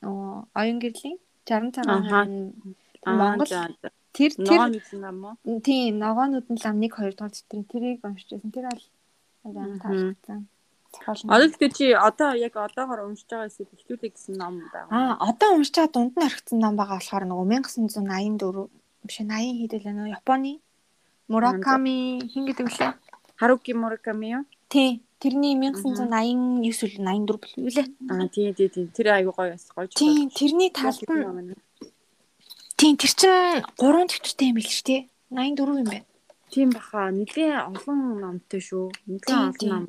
Нөгөө оюун гэрлийн 60 цагаан
Аха.
хаан
Аа,
Монгол
за, за.
тэр
Ногоон
тэр
үзэн ном уу?
тийм ногоонууд нь лам 1 2 дугаар дэвтрийн тэрийг уншижсэн. Тэр аль
Мгм.
таалагдсан.
Одоо тэгэхээр чи одоо яг одоогоор уншиж байгаа эсвэл ихтүүлэх гэсэн ном байгаа.
Аа, одоо уншчаа дунд нь орхисон ном байгаа болохоор нөгөө 1984 биш 80 хэдэл нөө Японы Мураками хин гэдэг үлээ.
Харуки Мураками юу?
Тий, тэрний 1989 үл 84 бэл үлээ.
Аа, тийм тийм тийм. Тэр аюу гоё бас гоё.
Тий, тэрний талд нь тий тэр чинь 3 төвчтэй юм биш тий. 84 юм байна.
Тийм баха. Нилийн олон номтой шүү. Нилийн олон
Тийм,
ном.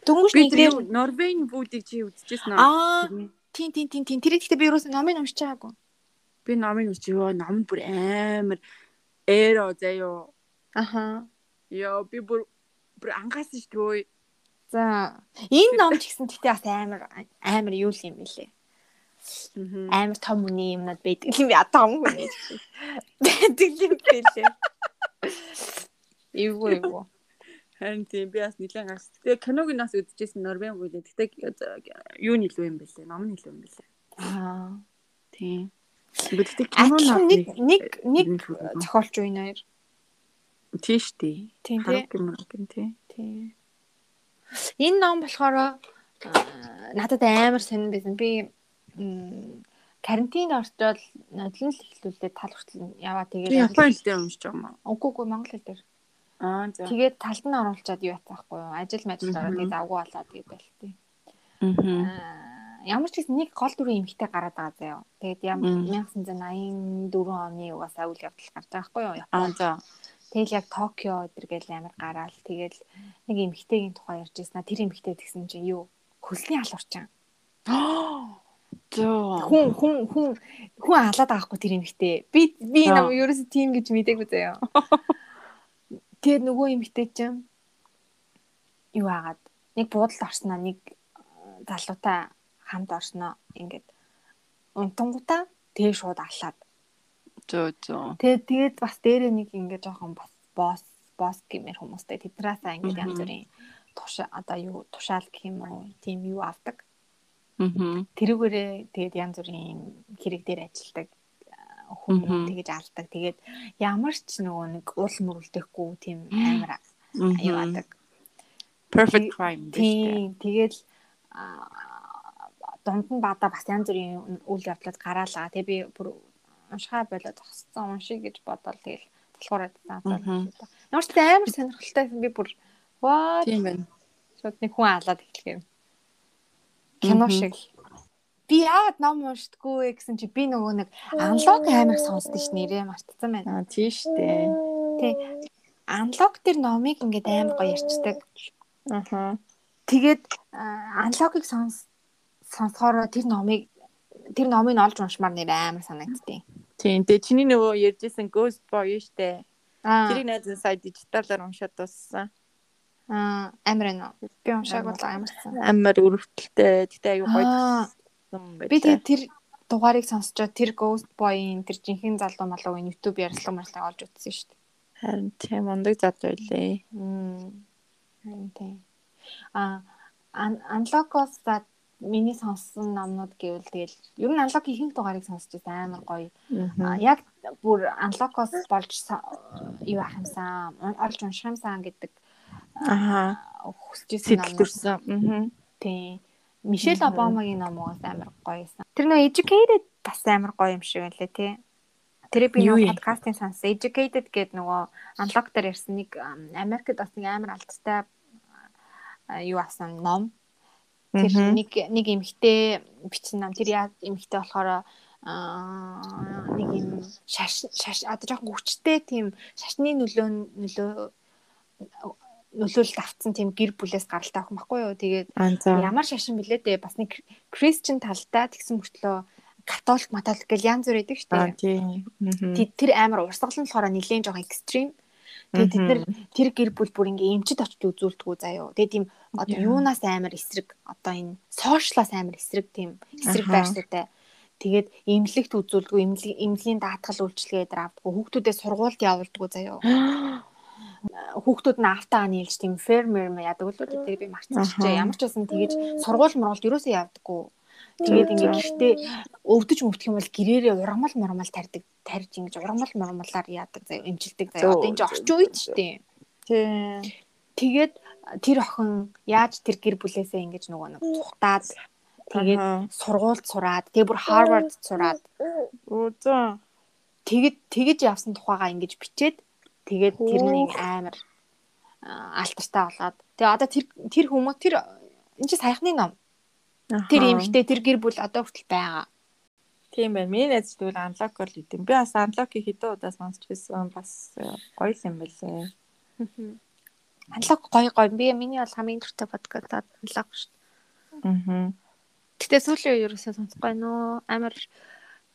Дөнгөж
Би
нэг дээр
тэр Норвегийн бүүдийг чи үзчихсэн аа.
аа тий тий тий тий тэр ихтэй би юусэн номыг уншиж байгаагүй.
Би номыг үзчих ёо. Ном бүр амар эро заяо.
Аха.
Ёо, би бүр бүр ангаас шүү дээ.
За энэ ном ч гэсэн тэгтээ бас амар амар юу л юм бэлээ.
Мгм.
амар том хүний юмнад байдаг юм я том хүний байдаг юм билээ. Эвгүй эвгүй.
Харин тийм би бас нилийн ангаас. Тэгээ киног нас үзчихсэн Норвегийн бүүдийг. Тэгтээ юу нэлээ юм бэлээ. Ном нэлээ юм бэлээ.
Аа.
Тийм. Би тэгтээ кино
Адилхан нэг
номыг-
нэг нэг
Нэг-
зохиолч юу нээр.
тийш тий.
Тийм тий.
Харуки Мураками тий.
Тийм. Энэ ном болохоор надад амар сонирн байсан. Би м, карантинд орчвол нодлон л эхлүүлээд тал хүртэл яваа
Би
тэгээд
Японд л дээр уншиж байгаа юм аа.
Үгүй үгүй Монгол хэл дээр.
Аа за.
Тэгээд талд нь оруулчаад юу яцсахгүй юу? Ажил мэжил ороод
Мгм.
тэгээд завгүй болоод тэгээд байлтыг.
Мгм.
Аа, Э, ямар ч гэсэн нэг гол дүрийн эмхтэй гараад байгаа заяа. Тэгээд ям-
Мм.
1984 оны угаасаа үйл явдал гарч байгаа хгүй юу?
Аа
Японд.
за.
Тэгэл яг Токио гэдэргээл амар гараал. Тэгэл нэг эмхтэйгийн тухай ярьж ирсэн. а, Тэр эмхтэй тэгсэн чинь юу? Хөлсний алуурчаан.
Зөө.
Хүн хүн хүн хүн алаад байгаа хгүй тэр эмхтэй. Би би
Аа.
нам ерөөсө тийм гэж мдэггүй заяа. Тэгээд нөгөө эмхтэй чинь юу агаад нэг э, буудалд орсноо нэг залуутай хамт орсноо ингээд унтангуудаа тэг шууд аллаад.
Зөө зөө.
Тэгээд тэгээд бас дээрээ нэг ингээ жоохон бас босс босс гэмээр хүмүүстэй тэднээс ингээ янз бүрийн туш одоо юу тушаал гэх юм уу тийм юу авдаг.
Аа.
Тэрүүгээрээ тэгээд янз бүрийн хэрэг дээр ажилдаг а, хүмүүс
Мгм.
тэгэж алдаг. Тэгээд ямар ч нөгөө нэг уул мөрөлдөхгүй тийм амар юу авдаг.
Perfect crime биш үү?
Тийм. Тэгэл аа, дунд нь бада бас янз бүрийн үйл явдлууд гараалаа. Тэгээ би бүр уншихаа болоод зогссон уншия гэж бодоод тэгэл болохоор
Мгм.
даасан. Ямар ч гэсэн амар сонирхолтой байсан. би бүр ваа
Тийм байна.
шууд нэг хүн алаад эхлэхээр кино
Мгм.
шиг би яагаад ном уншдаггүй вэ гэсэн чи би нөгөө нэг аналог амиг сонсдог ш нэрээ мартсан байна.
Аа тийш дээ.
Аналог төр номыг ингээд амар гоё ярьцдаг.
Аха.
Тэгээд аа, аналогыг сонс сонсохоор тэр номыг тэр номыг нь олж уншмаар нэр амар санагдтыг.
Тийм. Тэгээ чиний нөгөө ярьжсэн Ghost Boy штэ.
Аа
Тэрийг найз сая дижиталаар уншаад дууссан.
аа, амар энэ. Би уншаагүй л амарсан.
Амар өрөвдөлтэй. Тэгтээ аюу гоё
Аа.
төгссөн байлаа.
Би тэгээд тэр дугаарыг сонсчоод тэр Ghost Boy-ийн тэр жинхэнэ залуу малуугийн YouTube ярилцлага марлаг олж утсан шүү дээ.
харин тийм мундаг залуу байлээ.
Мм. Харин тийм. Аа ан- аналогоос за миний сонссон номнууд гэвэл тэгэл ер нь аналог ихэнх дугаарыг сонсч байсан амар гоё А,
Аа.
яг бүр анлокос болж са- юу ах юмсан ун- олж унших юмсан гэдэг
Аха.
хүсчээсэн
Сэтэл төрсэн. Аа.
Тийм. Мишель
Мгм.
Обамагийн ном уус амар гоёсэн. Тэр нөө educated бас амар гоё юм шиг байлаа тий. Тэр би
Юу
нэг
юм?
подкастын сонссон. Educated гэдэг нөгөө анлок дээр ирсэн нэг ам, Америкт бас нэг амар алдтай а, юу асан ном Тэр нэг нэг эмхтэй бичсэн нам тэр яа эмхтэй болохоор аа нэг юм шаш шаш одоо жоохон хүчтэй тийм шашны нөлөө нөлөө нөлөөлөлт авцсан тийм гэр бүлээс гаралтай охин баггүй юу. Тэгээд
Анзаа.
ямар шашин блэ дээ бас нэг Christian талтай тэгсэн мөртлөө католик матолик гэл янз бүр идэг
Аа
штэ.
тийм. Аа.
Тэ- Тэр амар урсгал нь болохоор нэлээд жоохон экстрим. Тэгээд тэд нар тэр гэр бүл бүр ингээ эмчд очиж үзүүлдэггүй заяо. Тэгээ тийм одоо
Яа.
юунаас амар эсрэг одоо энэ сошиалаас амар эсрэг тийм эсрэг
Аха.
байрштай. Тэгээд имлэгт үзүүлдэггүй имлэг имлэгийн даатгал үйлчилгээд авдаггүй хүүхдүүдээ сургуульд явуулдаггүй заяо. Хүүхдүүд нь автаа нийлж тийм фермер мэ ядаг л үү тэр би
Аха.
марцчихжээ. Ямар ч байсан тэгэж сургууль мургуулд юусоо явдаггүй. Тэгээд ингээ
Зөө.
гихтээ өвдөж мөвдөх юм бол гэрээрээ ургамал мурмал тарьдаг тарьж ингэж ургамал мурмалаар яадаг заяо эмчилдэг заяо. Одоо
Зөө,
энэ чинь
зөө,
орчин үед шүү дээ.
Тийм.
Тэгээд тэр охин яаж тэр гэр бүлээсээ ингэж нөгөө нэг цухтаад тэгээд
Аха.
сургуульд сураад тэгээд бүр Harvard сураад
Үзэн.
тэгэд тэгэж явсан тухайгаа ингэж бичээд тэгээд тэрний
Хөөх.
амар аа, алтартай болоод тэгээд одоо тэр тэр хүмүүс тэр энэ чи саяхны ном тэр эмэгтэй тэр гэр бүл одоо хүртэл байгаа.
Тийм байна. Миний найз тэгвэл unlock л идэм. Би бас unlock хэдэн удаа сонсч байсан. Бас э, гоё юм байлээ.
Аналог гой гой би миний бол хамгийн түртэй подкаст аналог шүү.
Аа.
Гэтэ сүүлийн үе ерөөсөө сонсохгүй нөө амар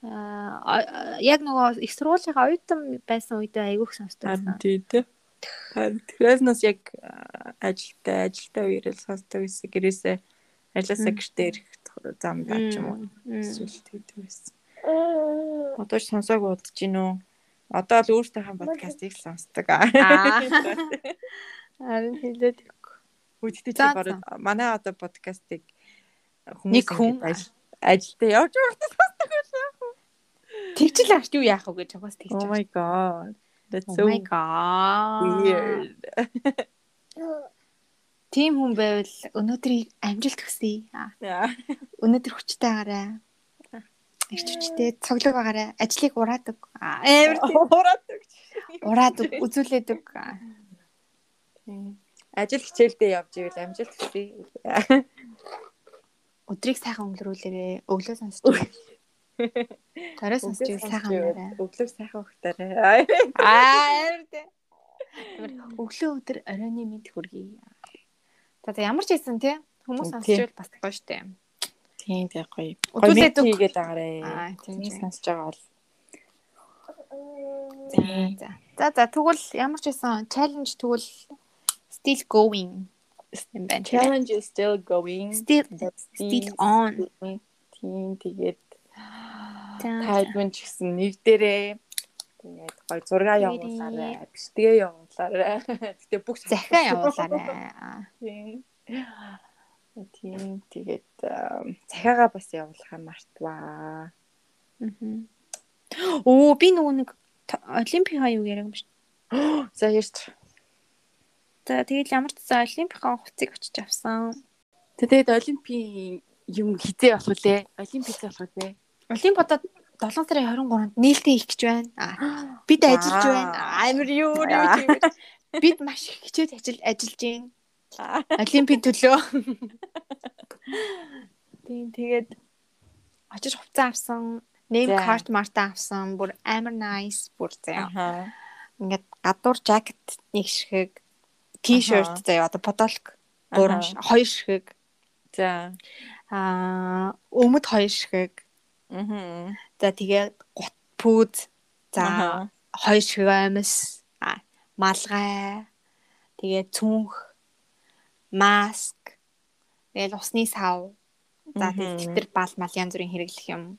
аа, яг нөгөө их сургуулийнхаа оюутан байсан үедээ айгүйх сонсдог. байсан.
Харин тий, тэ. Харин тэрээс яг э, ажилтай, ажилтай үерэл сонсдог гэсэн гэрээсээ ажилласаа
Мм.
гэртээ ирэх тох- зам байж юм уу?
Мм.
Эсвэл тэгдэг байсан. Одоо ч сонсоог удаж гин үү? Одоо л өөртөө хам подкастыг л сонсдог.
Аа. Харин хилээд өгөх.
Үгтэй чи
За,
баруун манай одоо подкастыг
Нэг хүн.
ажилдаа явж байгаа.
Тэгжил ахч юу яах вэ гэж чагаас тэгж.
Oh my god. That's
Oh
so
my god.
weird.
Тим хүн байвал өнөөдрийг амжилт хүсье. Аа.
Yeah.
Өнөөдөр хүчтэй агараа. Ирч хүчтэй цоглог агараа. Ажлыг ураад өг. Аа. Амар тийм.
Ураад өгч.
ураад өг, үзүүлээд өг. Аа.
Ажил хичээлдээ явж ивэл амжилт хүсье.
Өдрийг сайхан өнгөрүүлээрэ. Өглөө сонсч. Торой сонсч
Өглөө
ивэл сайхан өнгөрөө.
Өглөө сайхан өгтөөрэй.
Аа, амар тий. Амар өглөө өдөр оройны мэд хүргэе. За за ямар ч хэлсэн тий хүмүүс
Тий.
сонсчихвол бас гоё штэ.
Тийм тийм гоё.
Үзүүлээд
Үзүүлээд
үг.
хийгээд агараа.
Аа тийм
Миний
тийм.
сонсож байгаа бол
За за за тэгвэл ямар ч хэлсэн challenge тэгвэл still going юм байна. тий.
challenge is still going.
Still
That's
still
the-
on.
Тийм тэгээд тайлбан ч гэсэн нэг дээрээ тэгээд гоё зурга явуулаарэ. Биштэйгээ явуулаарэ. Гэтэ бүх
захиа явуулаарай.
Тийм. Тийм тэгээд цахиагаа бас явуулахаа мартваа.
Оо би нөгөө нэг т- олимпиа юу яриаг юм шүү.
За ярьж.
За тэгэл ямар ч за олимпиа хуцыг очиж авсан.
Тэгээд олимпийн юм хизээ болох лээ. Олимп хизээ болох лээ.
Олимпиадад 7 сарын 23-нд нээлттэй хийх гэж байна. Аа, Бид ажиллаж
Вау.
байна. Амар юу юу юм бэ? Бид маш их хичээл ажил ажиллаж байна. Олимпийн төлөө. Тийм тэгээд очиж хувцас авсан, name
За.
card марта авсан, бүр амар nice бүр заяа.
Аха.
Ингээд гадуур жакет нэг ширхэг, t-shirt заяа одоо подолк
Аха.
гурван ш- хоёр ширхэг,
За.
аа өмд хоёр ширхэг.
Мм.
За тэгээд гут пүүд. За
За.
хоёр ширхэг аймс, а, малгай, тэгээд цүнх, маск, тэгээд усны сав. За тэгээд
Мгм.
тэмдэгтэр бал мал янз бүрийн хэрэглэх юм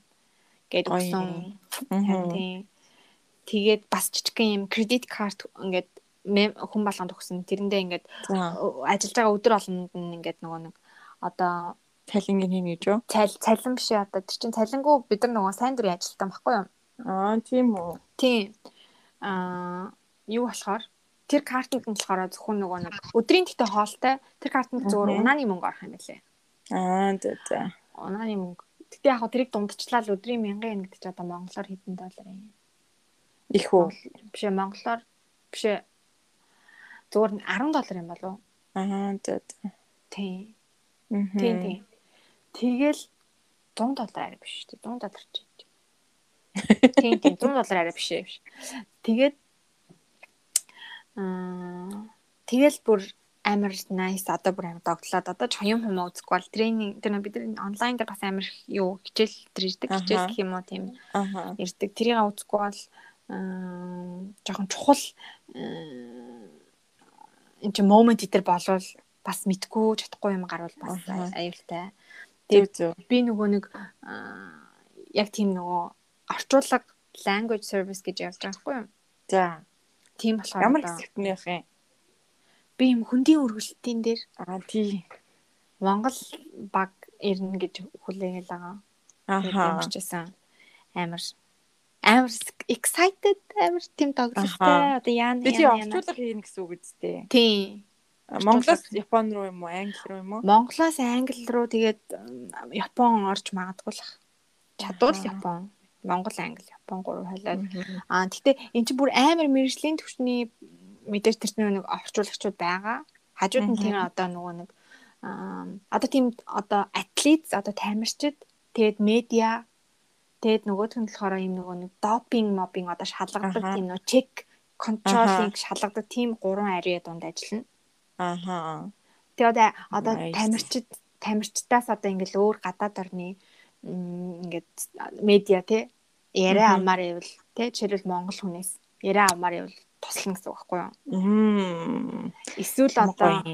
гээд
Гоё
өгсөн. Харин
Мгм.
тийм. Тэгээд бас жижигхэн юм кредит карт ингээд мэм- хүн болгонд өгсөн. Тэрэндээ ингээд
За.
ö- ажиллаж байгаа өдөр болгонд нь ингээд нөгөө нэг одоо
Цалингийн хин гэж юу?
цал цалин биш ээ, одоо тэр чин цалингуу бид нар нөгөө сайн дурын ажилтан байхгүй юу?
Аа, тийм үү.
Тийм. Аа, юу болохоор тэр картууд нь болохоор зөвхөн нөгөө нэг өдрийн тэгтээ хоолтой тэр картанд
Мгм.
зөвхөн унааны мөнгө орох юм байлээ.
Аа, за за.
Унааны мөнгө. Тэгтээ яг хөө тэрийг дундчлаа л өдрийн 1000 yen гэдэг чи одоо монголоор хэдэн доллар юм?
Их үү?
Биш ээ, монголоор биш ээ. Зөвхөн 10 доллар юм болов уу?
Аа, за за.
Тийм.
Мгм.
Тийм тийм. Тэгэл 100 доллар арай биш шүү дээ. 100 доллар ч гэж. Тийм тийм 100 доллар арай биш ээ биш. Тэгээд аа тэгэл бүр амар nice одоо бүр амар догтлоод одоо ч юм юм үзэхгүй бол тренинг тэр нөө бид нар онлайн дээр бас амар их юу хичээл тэр ирдэг
Аха.
хичээл гэх юм уу тийм
Аха.
ирдэг. Тэрийг үзэхгүй бол аа жоохон чухал аа, энэ чи момент дээр болвол бас мэдгүй чадахгүй юм гарвал бас
Аха.
аюултай.
Тэг зү.
Би нөгөө нэг аа, яг тийм нөгөө орчуулга language service гэж явж байгаа хгүй юу?
За.
Тийм болохоор
Ямар
одоо
хэсэгт нөх юм?
би юм хөндийн үргэлжлэлтийн дээр
Аа, тий.
Монгол баг ирнэ гэж хүлээгээл байгаа.
Аха.
Ямарчсан амар амар excited амар тийм
Аха.
тоглолттой одоо яана
Тэг чи орчуулга хийнэ гэсэн үг үстэй.
Тийм.
Монголоос Япон руу юм уу, Англи руу юм уу?
Монголоос Англи руу тэгээд м, Япон орж магадгүй л ах. чадвал
Аха.
Япон, Монгол, Англи, Япон гурав хойлоо.
Мгм.
Аа тэгтээ эн чинь бүр амар мэрэгжлийн төвчний мэдээж тэр чинь нэг орчуулагчуд байгаа. Хажууд нь
Мгм.
тэр одоо нөгөө нэг аа одоо тийм одоо атлет, одоо тамирчид, тэгээд медиа тэгээд нөгөөх нь болохоор юм нөгөө нэг допинг, мобинг одоо шалгадаг
Аха.
тийм нөгөө чек контролинг шалгадаг тийм гурван ари дунд ажиллана.
Аха.
Тэгээ одоо одоо
Nice.
тамирчид тамирчдаас одоо ингээл өөр гадаад орны м, ингээд медиа тий яриа
Мгм.
амаар ивэл тий жишээлбэл монгол хүнээс яриа амаар ивэл туслана гэсэн үг байхгүй юу?
Мм.
Эсвэл одоо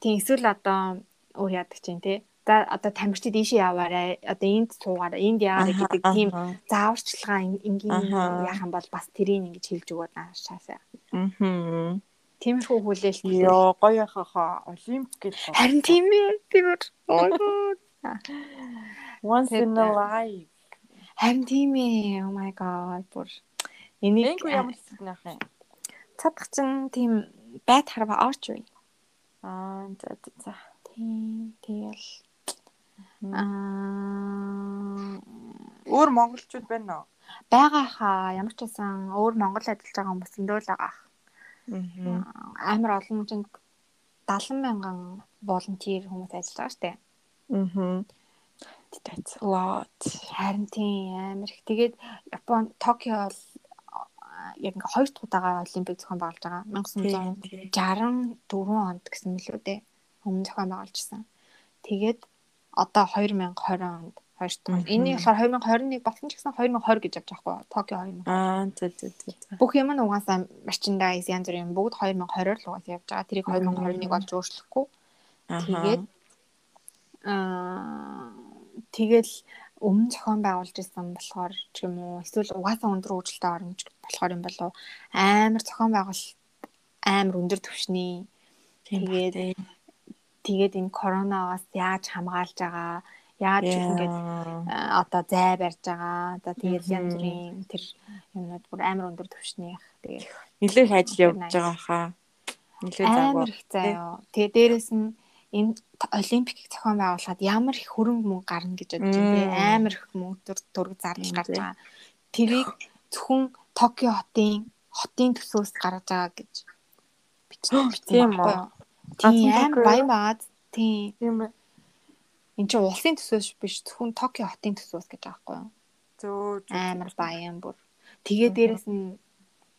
тий эсвэл одоо өөр яадаг чинь тий за одоо тамирчид ийшээ яваарай одоо энд суугаарай энд яваарай гэдэг тийм зааварчилгаа ин- ингийн
Аха.
яах юм бол бас тэрийг ингэж хэлж өгөөд наашаасаа.
Мм.
Тиймэрхүү хүлээлт.
Йоо, гоё яхаха. Олимп гэж. бол.
Харин тийм ээ тийм үү. Ойгоо
Once
Тэт-
in a life.
Харин тийм ээ. Oh my god. Бүр энийг
Энгүү ямар хэсэг нөх юм?
цадах чинь тийм байт харва орч вэ.
Аа, за за, за.
Тийм тэгэл аа
Өөр монголчууд байна уу?
байгаа хаа ямар ч байсан өөр Монгол ажиллаж байгаа хүмүүс өндөө л байгаа.
Мм.
Амар олон жин 70 мянган волонтер хүмүүс ажиллаж байгаа штэ.
Мм. That's a lot.
Харин тийм амар их. Тэгээд Япон Токио бол аа, яг ингээ хоёр дахь удаага олимпик зохион байгуулж байгаа. 1900 64 онд гэсэн мэлүү дээ. Өмнө зохион байгуулжсэн. Тэгээд одоо 2020 онд хоёр дахь.
Мгм.
Энийг болохоор 2021 болсон ч гэсэн 2020 гэж явж байгаа хгүй Токио 2000.
Аа, за за за. за.
Бүх юм нь угаасаа merchandise янз бүрийн бүгд 2020-оор л угаасаа явж байгаа. Тэрийг 2021
Мгм.
болж өөрчлөхгүй.
Аха.
Тэгээд аа тэгэл өмнө зохион байгуулж ирсэн болохоор ч юм уу эсвэл угаасаа өндөр үйлдэлтэй оромж болохоор юм болов амар зохион байгуул амар өндөр түвшний тэгээд тэгээд энэ коронавигаас яаж хамгаалж байгаа яаж ингэж одоо зай барьж байгаа одоо тэгээд янз бүрийн тэр юмнууд бүр амар өндөр түвшний их тэгээд
нэлээд их ажил явуулж байгаа хаа нэлээд
амар их заяа тэгээд дээрэс нь энэ олимпикийг зохион байгуулахад ямар их хөрөнгө мөнгө гарна гэж бодож байгаа амар их мөнгө төрөг зардал гарч байгаа тэрийг зөвхөн Токио хотын хотын төсөөс гаргаж байгаа гэж бичсэн
тийм үү
тийм амар баян багаад тийм Энд чинь улсын төсөөс биш зөвхөн Токио хотын төсөөс гэж байгаа байхгүй юу?
Зөө
Амар баян бүр. Тэгээ дээрэс нь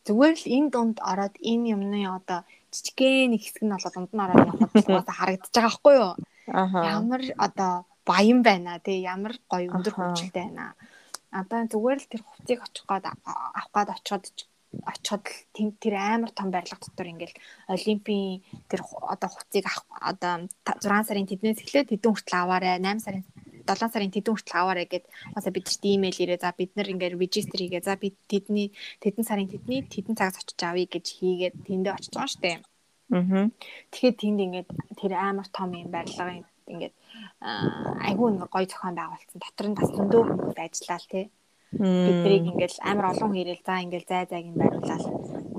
зүгээр л энэ дунд ороод энэ юмны одоо жижигхэн нэг хэсэг нь болоод дунд нь ороод явахад угаасаа харагдаж байгаа байхгүй юу?
Аха.
Ямар одоо баян байна тий ямар гоё өндөр хөвчлөлтэй байна. Одоо зүгээр л тэр хувцыг очих гээд авах гээд очиход ч очиход л тэнд тэр амар том барилга дотор ингээл олимпийн тэр ху- одоо хувцыг авах одоо та- 6 сарын тэднээс эхлээд тэдэн хүртэл аваарэ 8 сарын 7 сарын тэдэн хүртэл аваарэ гэд басаа бид нарт имэйл ирээ за бид нар ингээл регистр хийгээ за бид тэдний тэдэн сарын тэдний тэдэн цагт очиж авъя гэж хийгээд тэндээ очиж байгаа штеп
Аа.
Тэгэхээр тэнд ингээд тэр амар том юм барилга юм ингээд аа, айгүй нэг гоё зохион байгуулсан. Дотор нь бас өндөө хүмүүс ажиллаал тий. Биднийг ингээд амар олон хийрэл за ингээд зай зайг нь бариулаад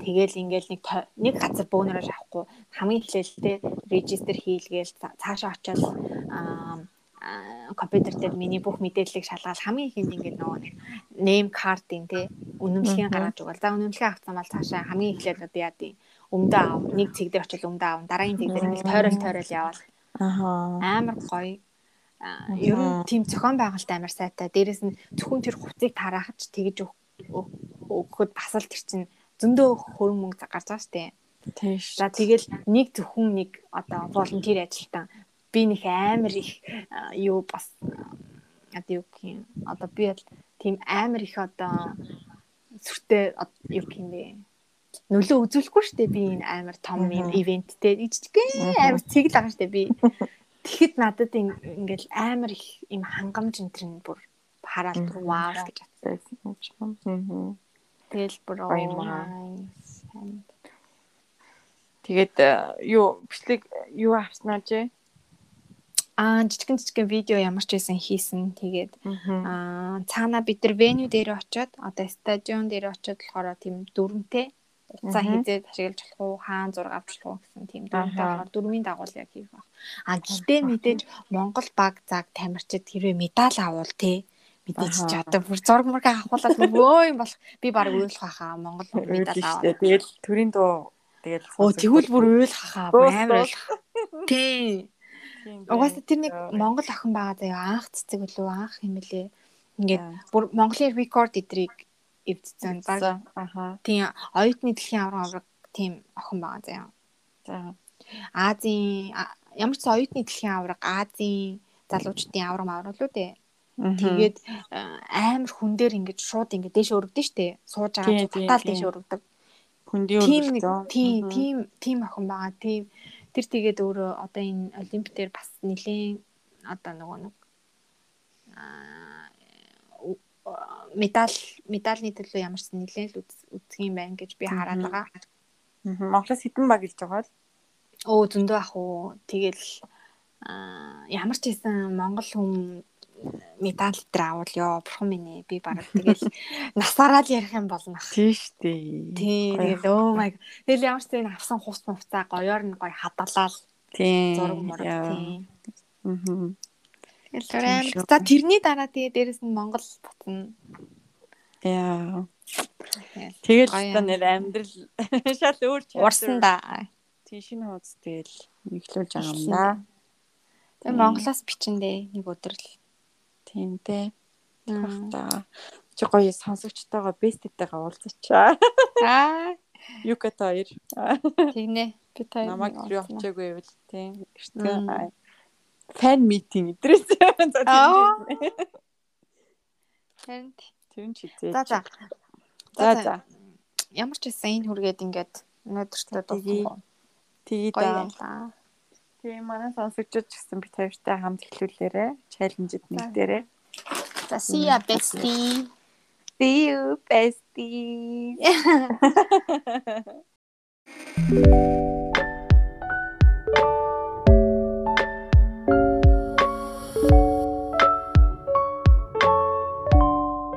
тэгэл ингээд нэг то- нэг газар бөөнөрөөр авахгүй хамгийн эхлээлтэй регистр хийлгээл ца- цаашаа очиод аа, аа, компьютер дээр миний бүх мэдээллийг шалгаад хамгийн ихэнд ингээд нөгөө нэг name card-ийн тий үнэмлэхээ гаргаж өгөөл. За үнэмлэхээ авсан бол цаашаа хамгийн эхлээд одоо яа дий өмдөө аав нэг цэг дээр очил өмдөө аав дараагийн цэг дээр ингээл тойрол тойрол яваал
Аа.
амар гоё Аа, ер нь тийм зохион байгуулалт амар сайтай дээрэс нь зөвхөн тэр хувцыг тараахч тэгж өг- өг- өгөхөд бас л тэр чинь зөндөө хөрөнгө мөнгө гарч байгаа штеп
Тийш.
За тэгэл нэг зөвхөн нэг одоо волонтер ажилтан би нэг амар их а, юу бас а, одоо юу гэх юм одоо би бол тийм амар их одоо сүртэй од- юу гэх юм бэ нөлөө үзүүлэхгүй шүү дээ би энэ амар том юм ивенттэй ижтгэ амар цэгл байгаа шүү дээ би тэгэхэд надад ин- ингээл амар их юм хангамж энэ төр нь бүр хараад бүр вау гэж бат.
Аа.
тэгэл бүр
Гоё юм аа.
сайн.
Тэгээд э, юу бичлэг юу авснаа чи?
аа жижигэн жижигэн видео ямар ч байсан хийсэн тэгээд
Аа.
Аа цаана бид нар venue дээр очиод одоо стадион дээр очиод болохоор тийм дүрмтэй уцаа
Мгм.
хийгээд ашиглаж болох уу, хаан зураг авч болох уу гэсэн тийм дүрмтэй
Аха.
болохоор дөрмийн дагуул яг хийх баг. Аа гэхдээ мэдээж Монгол баг цаг тамирчид хэрвээ медаль авуул те мэдээж
Аха.
ч одоо бүр зураг мураг авахулаад өө юм болох би баг уйлах хаа Монгол медаль аваа.
Тэгэл төрийн дуу тэгэл
Оо тэгвэл бүр уйлах хаа бүр
Дуус,
амар
дуус.
уйлах. Тийм. Угаасаа тэр нэг Монгол охин байгаа заяа анх цэцэг үлээ анх юм лээ. Ингээд бүр Монголын рекорд эдрийг эвдсэн баг.
Аха.
Тийм оюутны дэлхийн авраг авраг тийм охин байгаа заяа.
За.
Азийн а- ямар ч сан оюутны дэлхийн авраг Азийн залуучдын авраг аврал үү дээ. Тэгээд а, амар хүн дээр ингээд шууд ингээд дээш өргөдөн штэ. Сууж
Тий,
байгаа
тий,
татал
тий.
дээш өргөдөг.
хүндийн
тийм нэг тийм тийм тийм охин байгаа. Тийм тэр тэгээд өөрөө одоо энэ олимп дээр бас нэлийн одоо нөгөө нэг аа у- а, медаль медальны төлөө ямарсан нэлээд л үз- үзэх юм байна гэж би хараад
Мгм.
байгаа.
Монголоос хитэн баг илж байгаа л.
Өө зөндөө ах уу. Тэгэл аа ямар ч хэсэн монгол хүм медаль дээр авал ёо бурхан минь ээ. би бараг тэгэл насаараа л ярих юм болно.
Тийш тий.
Тийм
Гоё.
тэгэл оо май. Тэгэл ямар ч зэн авсан хус мувцаа гоёор нь гоё хадгалаад
Тий.
зураг мураг тийм.
Аа.
Тэгэл
Тийм
амар.
шүү.
За тэрний дараа тэгээ дээрэс нь Монгол бутна.
Яа.
Тэгэл.
Тэгэл
Гоё
та нэр амьдрал шал өөр чанар.
Урсан да.
Тий шинэ хуудас тэгэл нэглүүлж байгаа юм да.
Тэгээ Монголоос бичэндээ нэг өдөр л.
Тийм дээ.
Мм.
За. Чи гоё сонсогчтойгоо бэстэдтэйгээ уулзачаа.
За
Юката хоёр.
тэгнэ. Би та
Намаг юу очиагүй байвал тийм.
Мм.
Эртээ фэн митинг идрээс за
Аа.
тийм дээ. тэр нь чизээ.
За за.
За за.
Ямар ч байсан энэ хүргээд ингээд өнөөдөртөө
Тэгээ.
дуусах.
Тэгээд
Гоё
аа,
байлаа.
тийм манай сонсогчд ч гэсэн би тавьртай хамт эхлүүлээрэ. Чаленжид нэгдээрэ.
За see ya bestie.
See you bestie.